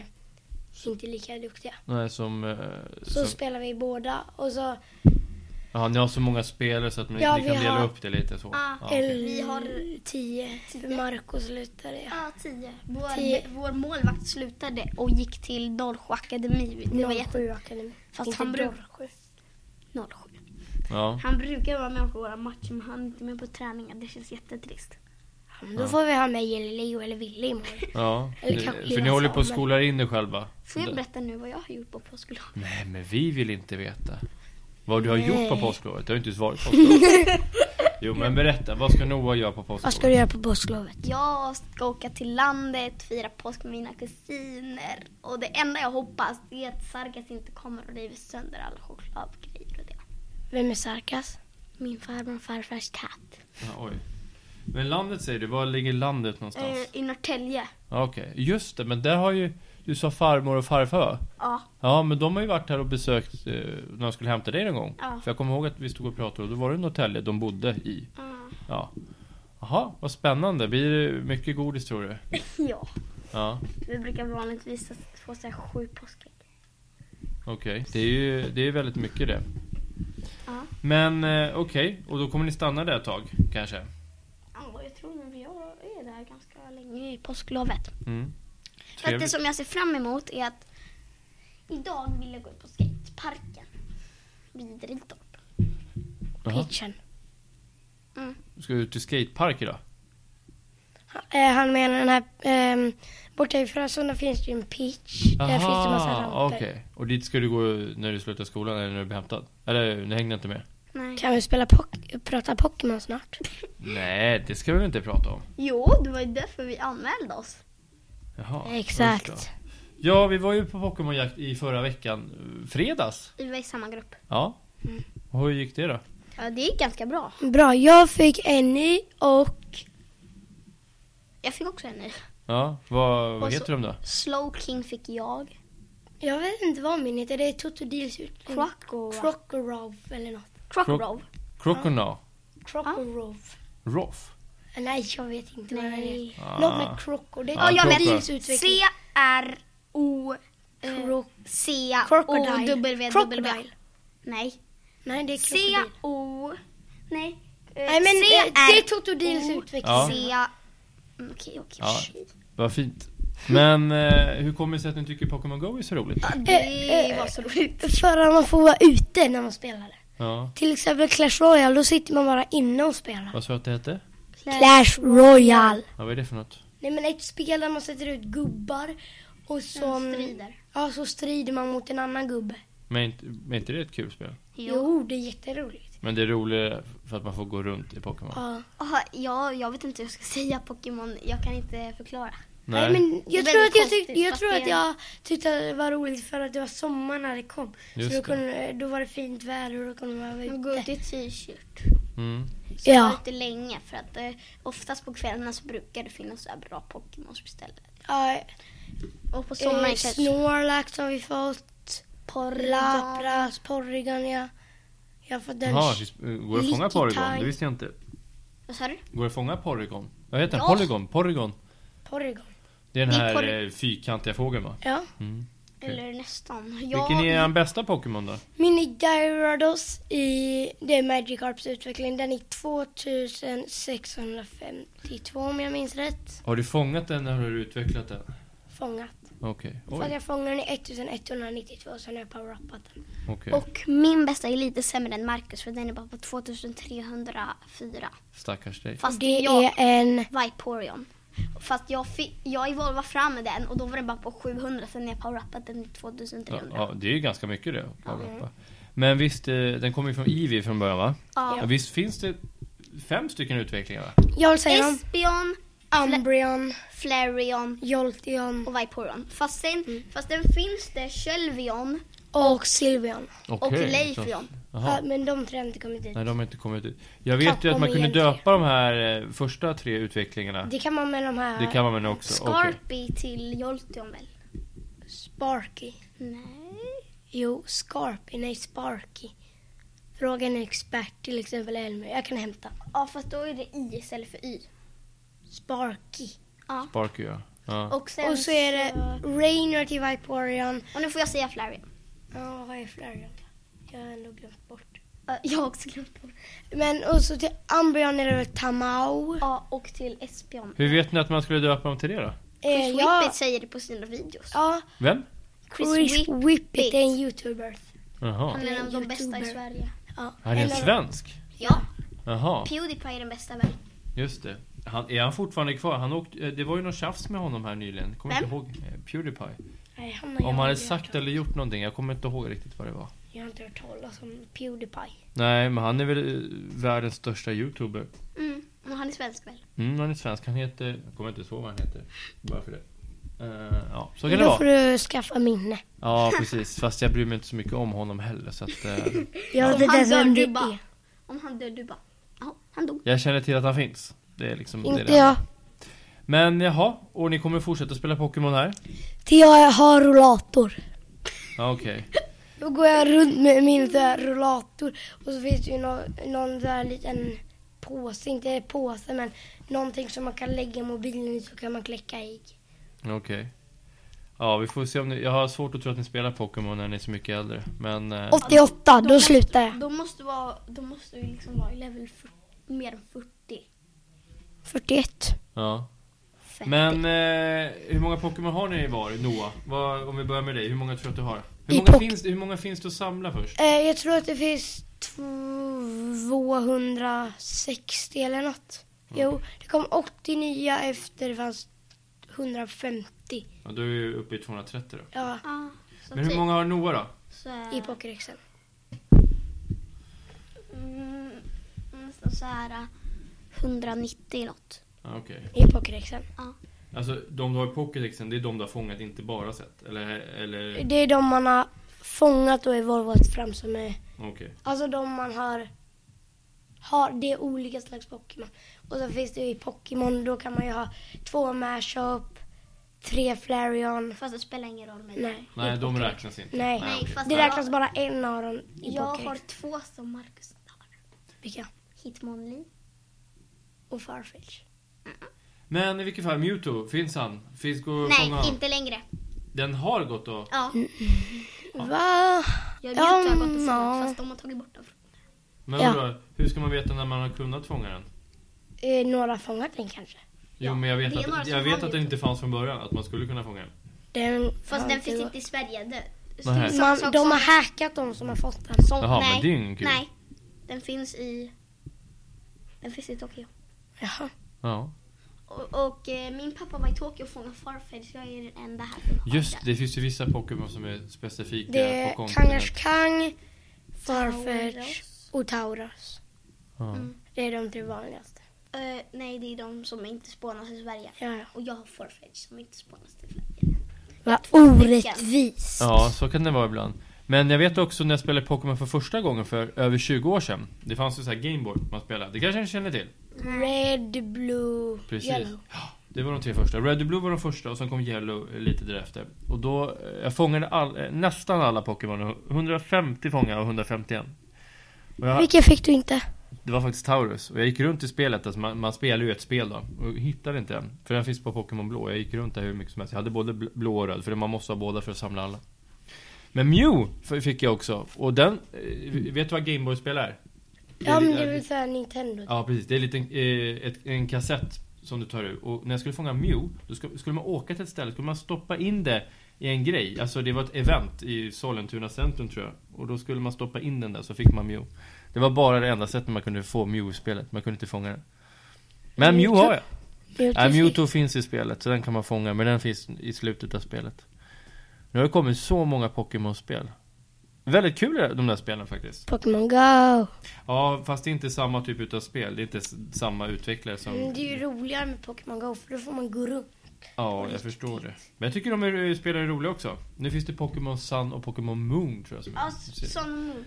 S5: inte lika duktiga.
S1: Nej, som... eh,
S5: Så
S1: som
S5: spelar vi båda och så
S1: ja, ni har så många spelare så att ni,
S5: Ja,
S1: ni
S5: vi
S1: kan dela
S5: har-
S1: upp det lite så.
S3: Ah,
S1: okej.
S5: vi har tio. För Marco slutade jag.
S3: Ja, tio. Vår,
S5: Tio.
S3: vår målvakt slutade och gick till Norrsjö akademi. Det var jätte...
S5: 07 akademi.
S3: Fast
S5: Inte
S3: han bror.
S5: 07.
S3: Norrsjö.
S1: Ja.
S3: Han brukar vara med på våra matcher men han är inte med på träningar. Det känns jättetrist.
S5: Ja, men Då får vi ha med Leo eller Ville imorgon.
S1: ja.
S5: Eller
S1: Det-
S5: kanske
S1: För ni
S5: Jonas
S1: håller på att
S5: Samuel.
S1: skola in er själva.
S3: Får jag berätta nu vad jag har gjort på påsklovet?
S1: Nej, men vi vill inte veta. Vad du har gjort på påsklovet? Du har inte ens varit
S5: *laughs*
S1: på påsklovet. jo, men berätta. Vad ska Noah göra på påsklovet?
S5: Vad ska du göra på påsklovet?
S3: Jag ska åka till landet, fira påsk med mina kusiner. Och det enda jag hoppas det är att Sargas inte kommer och river sönder alla chokladgrejer och det.
S5: Vem är Sarkas?
S3: Min farbror och farfars katt.
S1: Ja, oj.
S5: Eh,
S1: Men landet säger du, var ligger landet någonstans?
S3: Eh, I Norrtälje.
S1: Ja, Okej, just det, men där har ju Du sa farmor och farfar va?
S4: Ja.
S1: Ja, men de har ju varit här och besökt eh, när de skulle hämta dig någon gång.
S4: Ja.
S1: För jag kommer ihåg att vi stod och pratade och då var det Norrtälje de bodde i.
S4: Ja.
S1: Ja. Jaha, vad spännande. Blir det mycket godis tror du?
S4: ja.
S1: Ja,
S4: Vi brukar vanligtvis få så här sju påskägg.
S1: okej. Det är ju det är väldigt mycket det.
S4: Ja.
S1: Men eh, okej, och då kommer ni stanna där ett tag kanske?
S4: Ja, jag tror nog jag är där ganska länge i påsklovet.
S1: Mm.
S4: För att det
S1: Trevligt.
S4: som jag ser fram emot är att idag vill jag gå ut på skateparken vid Riddarp.
S1: Jaha.
S5: Pitchen.
S1: Ska du ut till skatepark idag?
S5: Eh, han menar den här... ehm, borta i Frösunda finns det ju en pitch. där finns det massa ramper.
S1: okej. Och dit ska du gå när du slutar skolan eller när du blir hämtad? Eller ni hängde inte med?
S4: Nej.
S5: Kan vi spela pok- prata Pokémon snart?
S1: Nej, det ska vi väl inte prata om?
S4: Jo, det var ju därför vi anmälde oss.
S1: Jaha, just
S5: Exakt.
S1: det. Ja, vi var ju på Pokémonjakt i förra veckan, eh, fredags.
S4: Vi var i samma grupp.
S1: Ja.
S5: Mm.
S1: Och hur gick det då?
S4: Ja, det gick ganska bra.
S5: Bra, jag fick en ny och
S4: Jag fick också en ny.
S1: Ja, vad, vad
S4: Och så-
S1: heter de då?
S4: Slow King fick jag.
S5: jag vet inte vad min heter. Det är Totodils utbildning.
S4: Croco...
S5: Crocorov eller något.
S4: Crocorov.
S1: Crocona?
S5: Crocorov.
S1: Roff?
S5: Eh, Nej, jag vet inte vad den
S4: Nej.
S5: heter. Något
S1: Ah,
S5: med krokor. Det är
S1: Ja, jag vet.
S5: Totodils utveckling. Kro- Crocodile.
S4: C-R-O-C-O-W-W.
S5: Crocodile.
S4: Nej.
S5: Nej, det är krokodil.
S4: C-O... Nej.
S5: Nej, men eh, det är Totodils utveckling.
S1: Ja.
S4: C... Mm, Okej, okej.
S1: Ja.
S4: shit.
S1: Vad fint. Men eh, hur kommer det sig att ni tycker Pokémon Go är så roligt?
S5: Eh,
S4: Det var så roligt.
S5: För att man får vara ute när man spelar det.
S1: Ja,
S5: Till exempel Clash Royale, då sitter man bara inne och spelar.
S1: vad sa du att det hette?
S5: Clash Royale!
S1: Ja, vad är det för något?
S5: Nej men ett spel där man sätter ut gubbar och så...
S4: Mm, strider.
S5: Ja, så strider man mot en annan gubbe.
S1: Men är inte, men är inte det ett kul spel?
S5: Jo, det är jätteroligt.
S1: Men det är roligare för att man får gå runt i Pokémon?
S5: Ja.
S4: Aha, ja, jag vet inte hur jag ska *laughs* säga Pokémon. Jag kan inte förklara.
S5: Nej. men
S4: Det är
S5: jag tror att
S4: väldigt
S5: jag, tyck,
S4: konstigt,
S5: jag tror
S4: fast
S5: att
S4: det-
S5: jag tyckte att det var roligt för att det var sommar när det kom.
S1: Just
S5: så
S1: det.
S5: då, kunde, då var det fint väder och då kunde man vara
S4: Man går ut
S5: ute.
S4: i t-shirt.
S1: Mm.
S4: Så
S5: Ja.
S4: ja. lite länge för att eh, oftast på kvällarna så brukar det finnas så här bra Pokémon på stället.
S5: Ja,
S4: Och på sommaren
S5: eh,
S4: kanske...
S5: Snorlax har vi fått.
S4: Porridon.
S5: Lapras, Porrigan, ja. Jag har fått den.
S1: Jaha, visst, eh, går det att fånga
S5: Licky
S1: Porygon?
S5: Tide.
S1: Det visste jag inte.
S4: Vad sa du?
S1: Går det att fånga Porygon? Vad heter den?
S4: Ja.
S1: Polygon? Porygon?
S5: Porrigan.
S1: Det är den
S4: Det är
S1: här
S4: Pory-
S1: eh, fyrkantiga fågeln va?
S5: Ja.
S1: Mm. Okej.
S4: Eller nästan.
S1: Vilken är
S4: Jag,
S1: den bästa Pokémon då?
S5: Mini Gyarados i det är Magikarps utveckling, den är 2652 om jag minns rätt.
S1: Har du fångat den eller har du utvecklat den?
S5: Fångat.
S1: Okej.
S5: Fast
S1: Oj.
S5: jag fångade den i 1192 sen har jag power-upat den.
S1: Okej.
S4: och min bästa är lite sämre än Marcus för den är bara på 2304.
S1: Stackars dig.
S4: Fast
S5: Det
S4: jag,
S5: är en...
S4: Viporion. Fast jag, fi- jag evolvade fram med den och då var den bara på 700 sen när jag poweruppat den till
S1: Ja,
S4: 2300.
S1: ja, det är ju ganska mycket det. att poweruppa. Men visst, eh, den kommer ju från Eevee från början va?
S4: Ja.
S1: Ja, visst finns det fem stycken utvecklingar va?
S5: Jag vill säga dem.
S4: Espion,
S5: Umbreon,
S4: Flareon
S5: Jolteon
S4: och Viporeon. Fast, sen,
S5: Mm.
S4: fast den finns det Kölvion
S5: och Sylveon.
S4: och Äh,
S1: Okej, så-
S4: Leifion.
S1: Jaha.
S5: Ja, men de tre har inte kommit dit.
S1: Nej, de har inte kommit ut. Jag vet
S5: Kapp
S1: ju att man
S5: om
S1: kunde
S5: igen tre.
S1: döpa de här eh, första tre utvecklingarna.
S5: Det kan man med de här...
S1: Det kan man väl också? Okej.
S4: Scarpy till Jolteon väl?
S5: Sparky.
S4: Nej.
S5: Jo, Scarpy. Nej, Sparky. Fråga en expert, till exempel Elmer. Jag kan hämta.
S4: Ja fast då är det I istället för Y.
S5: Sparky.
S1: Sparky ja. ja.
S4: Och sen
S5: och så är det Rainer till Viporion.
S4: Och nu får jag säga Flareon.
S5: Ja, vad är Flareon? Jag har ändå glömt bort.
S4: Ja, Jag har också glömt på.
S5: Men och så till Umbreon är det Tamau.
S4: Ja och till Espion.
S1: Hur vet ni att man skulle döpa dem till det då?
S5: Eh,
S4: Chris
S5: ja,
S4: Whippet säger det på sina videos.
S5: ja,
S1: Vem?
S4: Chris
S5: Chris
S4: Whippet.
S5: Whippet är en youtuber.
S1: Jaha.
S4: Han är en av de
S5: Youtuber.
S4: bästa i Sverige.
S5: Ja,
S1: Han är en
S5: en av-
S1: svensk?
S4: Ja,
S1: Jaha,
S4: Pewdiepie är den bästa väl?
S1: just det. Han, är han fortfarande kvar? Han åkte, eh, det var ju någon tjafs med honom här nyligen. Kommer
S4: Vem?
S1: inte ihåg. eh, Pewdiepie.
S5: Nej, han har jag
S1: Om han hade
S5: aldrig hört
S1: sagt
S5: talas-
S1: eller gjort någonting. Jag kommer inte ihåg riktigt vad det var.
S5: Jag har inte hört talas om Pewdiepie.
S1: Nej, men han är väl eh, världens största youtuber.
S4: Mm, och han är svensk väl?
S1: Mm, han är svensk. Han heter... Jag kommer inte ihåg vad han heter. Bara för det. Eh, ja, så kan det
S5: Då
S1: vara.
S5: får du skaffa minne.
S1: Ja, precis. Fast jag bryr mig inte så mycket om honom heller. Så att, eh,
S5: Jag
S4: Om
S5: vet inte
S4: han
S5: ens
S4: dör,
S5: vem det
S4: du bara...
S5: är.
S4: Om han dör, du bara... Ja, han dog.
S1: jag känner till att han finns. Det är liksom, det är
S5: Inte
S1: det.
S5: jag.
S1: Men jaha, och ni kommer fortsätta spela Pokémon här?
S5: Till jag har rullator.
S1: Ja, okej.
S5: Då går jag runt med min så här rullator och så finns det ju någon, någon där liten påse, inte påse men någonting som man kan lägga mobilen i så kan man kläcka ägg.
S1: Okej. Ja, vi får se om ni... Jag har svårt att tro att ni spelar Pokémon när ni är så mycket äldre. Men... eh,
S5: 88, då slutar jag.
S3: Då måste, vara, då måste vi liksom vara i level 40, mer än 40.
S5: 41.
S1: Ja. Men eh, hur många Pokémon har ni var, Noah? Vad, om vi börjar med dig, hur många tror du att du har? Hur
S5: I
S1: många,
S5: pok-
S1: finns, hur många finns det att samla först?
S5: Eh, jag tror att det finns 260 eller något. Jo, det kom 80 nya efter det fanns 150
S1: Ja, du är ju uppe i 230 då.
S5: ja,
S3: Ja, så
S1: Men hur
S3: typ
S1: många har Noah då?
S3: så här,
S5: i Pokerexen.
S3: mm, nästan så
S4: äh,
S3: här 190 något.
S1: Ja, okej.
S5: I Pokerexen.
S1: Alltså de du har i Pokédexen, det är de du har fångat, inte bara sett? Eller? eller...
S3: Mm.
S5: Det är de man har fångat då i Volvoet fram som är
S1: Okej.
S5: Alltså de man har, har det är olika slags Pokémon. Och så finns det ju i Pokémon, då kan man ju ha två Mashup, tre Flareon.
S3: Fast det spelar ingen roll med det.
S5: Nej, i
S1: Nej, de
S5: Poké-
S1: räknas inte.
S5: Nej.
S1: okej.
S3: Nej, fast-
S5: Det räknas bara en av dem i
S3: Jag har
S5: Pokémon.
S3: två som Marcus har.
S5: Vilka?
S3: Hitmonlee.
S5: Och Farfetch.
S1: Men i vilket fall, Mewtwo, finns han? Finns går att fånga
S3: Nej,
S1: honom?
S3: inte längre.
S1: Den har gått då?
S3: Ja,
S5: Mm. Va?
S3: jag
S5: Ja,
S3: har gått och
S5: ja.
S3: fångat fast de har tagit bort dem.
S1: Men
S5: Ja.
S1: vadå, hur ska man veta när man har kunnat fånga den?
S5: Eh, några fångat den kanske.
S1: Jo men jag vet,
S3: det är några
S1: att,
S3: som
S1: jag
S3: har
S1: vet att den
S3: Mewtwo.
S1: inte fanns från början, att man skulle kunna fånga den.
S5: Den
S3: Fast
S5: har
S3: den finns
S5: gått.
S3: inte i Sverige. Det,
S1: Nej.
S3: som-
S5: Man,
S3: som-
S5: de
S3: som-
S5: har hackat de som har fått den.
S3: som-
S1: Jaha,
S3: nej,
S1: men det är ju ingen kul.
S3: Nej, den finns i... Den finns i Tokyo.
S5: Jaha.
S1: Ja.
S3: Och, och eh, min pappa var i Tokyo och fångade farfar. Jag är den enda här som har
S1: Just
S3: den.
S1: det, finns ju vissa Pokémon som är specifika
S5: Det
S1: på
S5: är
S1: kontinenten.
S5: Kangaskang, Farfetch
S3: Tauros.
S5: och Tauros.
S1: Ja.
S3: Mm.
S5: Det är de tre vanligaste.
S3: Eh, nej, det är de som inte spånas i Sverige.
S5: Ja, ja.
S3: Och jag har farfar som inte spånas i Sverige.
S5: Vad orättvist.
S1: ja, så kan det vara ibland. Men jag vet också när jag spelade Pokémon för första gången för över 20 år sedan. Det fanns ju så här Gameboy man spelade. Det kanske ni känner till?
S5: Red, blue,
S1: Precis.
S5: yellow.
S1: Det var de tre första. Red och Blue var de första och sen kom Yellow eh, lite därefter. Och då, eh, jag fångade all, eh, nästan alla Pokémon. 150 fångade jag och 151. Och jag,
S5: Vilken fick du inte?
S1: det var faktiskt Taurus. Och jag gick runt i spelet, alltså man, man spelar ju ett spel då. Och hittade inte den. För den finns på Pokémon Blå. Jag gick runt där hur mycket som helst. Jag hade både bl- blå och röd, för man måste ha båda för att samla alla. Men Mew f- fick jag också. Och den, eh, vet du vad Gameboy-spel är?
S5: Ja, men det är
S1: är-
S5: väl såhär Nintendo.
S1: Ja precis, det är en liten, eh, ett, en kassett som du tar ur. Och när jag skulle fånga Mew, då skulle, skulle man åka till ett ställe, skulle man stoppa in det i en grej. Alltså det var ett event i Sollentuna centrum tror jag. Och då skulle man stoppa in den där så fick man Mew. Det var bara det enda sättet man kunde få Mew i spelet, man kunde inte fånga den. Men Mew
S5: Mewtwo?
S1: har Mm, jag!
S5: Mewtwo
S1: Nej,
S5: fick-
S1: Mewtwo finns i spelet, så den kan man fånga, men den finns i slutet av spelet. Nu har det kommit så många Pokémon-spel. Väldigt kul är de där spelen faktiskt.
S5: Pokémon Go.
S1: Ja, fast det är inte samma typ utav spel. Det är inte s- samma utvecklare som...
S5: Mm, det är ju roligare med Pokémon Go för då får man gå runt.
S1: Ja, jag förstår det. Men jag tycker de är, eh, spelar är roliga också. Nu finns det Pokémon Sun och Pokémon Moon tror jag som
S3: Ja,
S1: är.
S3: s- sån nu.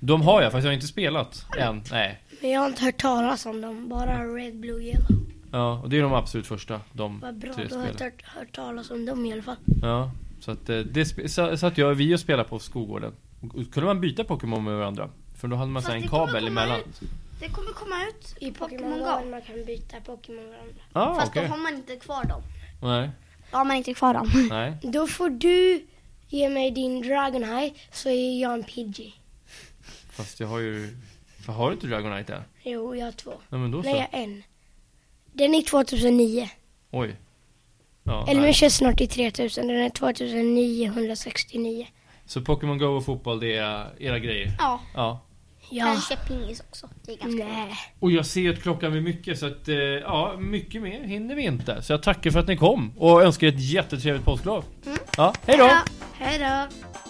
S1: De har jag, fast jag har inte spelat än. Nej.
S5: Men jag har inte hört talas om dem. Bara Red, Blue, Yellow.
S1: Ja, och det är de absolut första. De
S5: Vad bra,
S1: tre
S5: då har jag
S1: spelen.
S5: inte hört, hört talas om dem i alla fall.
S1: Ja, så att eh, det sp- så, så att jag och vi och spelade på Skogården. Och- och Kunde man byta Pokémon med varandra? För då hade man
S3: Fast
S1: så här en
S3: det kommer
S1: kabel
S3: komma
S1: emellan.
S3: Det kommer komma ut
S5: I Pokémon Go man kan byta Pokémon varandra.
S1: Ja,
S3: Fast
S1: okej.
S3: då har man inte kvar dem.
S1: Nej,
S3: Då har man inte kvar dem.
S1: nej.
S5: Då får du ge mig din Dragonite så är jag en Pidgey.
S1: Fast jag har ju... För har du inte Dragonite än?
S5: Jo, jag har två.
S1: Nej men då
S5: Nej,
S1: så.
S5: jag har en. Den är 2009.
S1: Oj. Ja,
S5: Eller
S1: nej.
S5: den körs snart i 3000, den är 2969.
S1: Så Pokémon Go och fotboll, det är era grejer?
S3: Ja.
S1: Ja.
S5: Ja.
S3: Kanske pingis också. Det är ganska bra.
S5: Nej.
S1: Och jag ser att klockan är mycket så att, eh, ja, mycket mer hinner vi inte. Så jag tackar för att ni kom och önskar ett jättetrevligt påsklov. Ja, hej då!
S3: Hej då.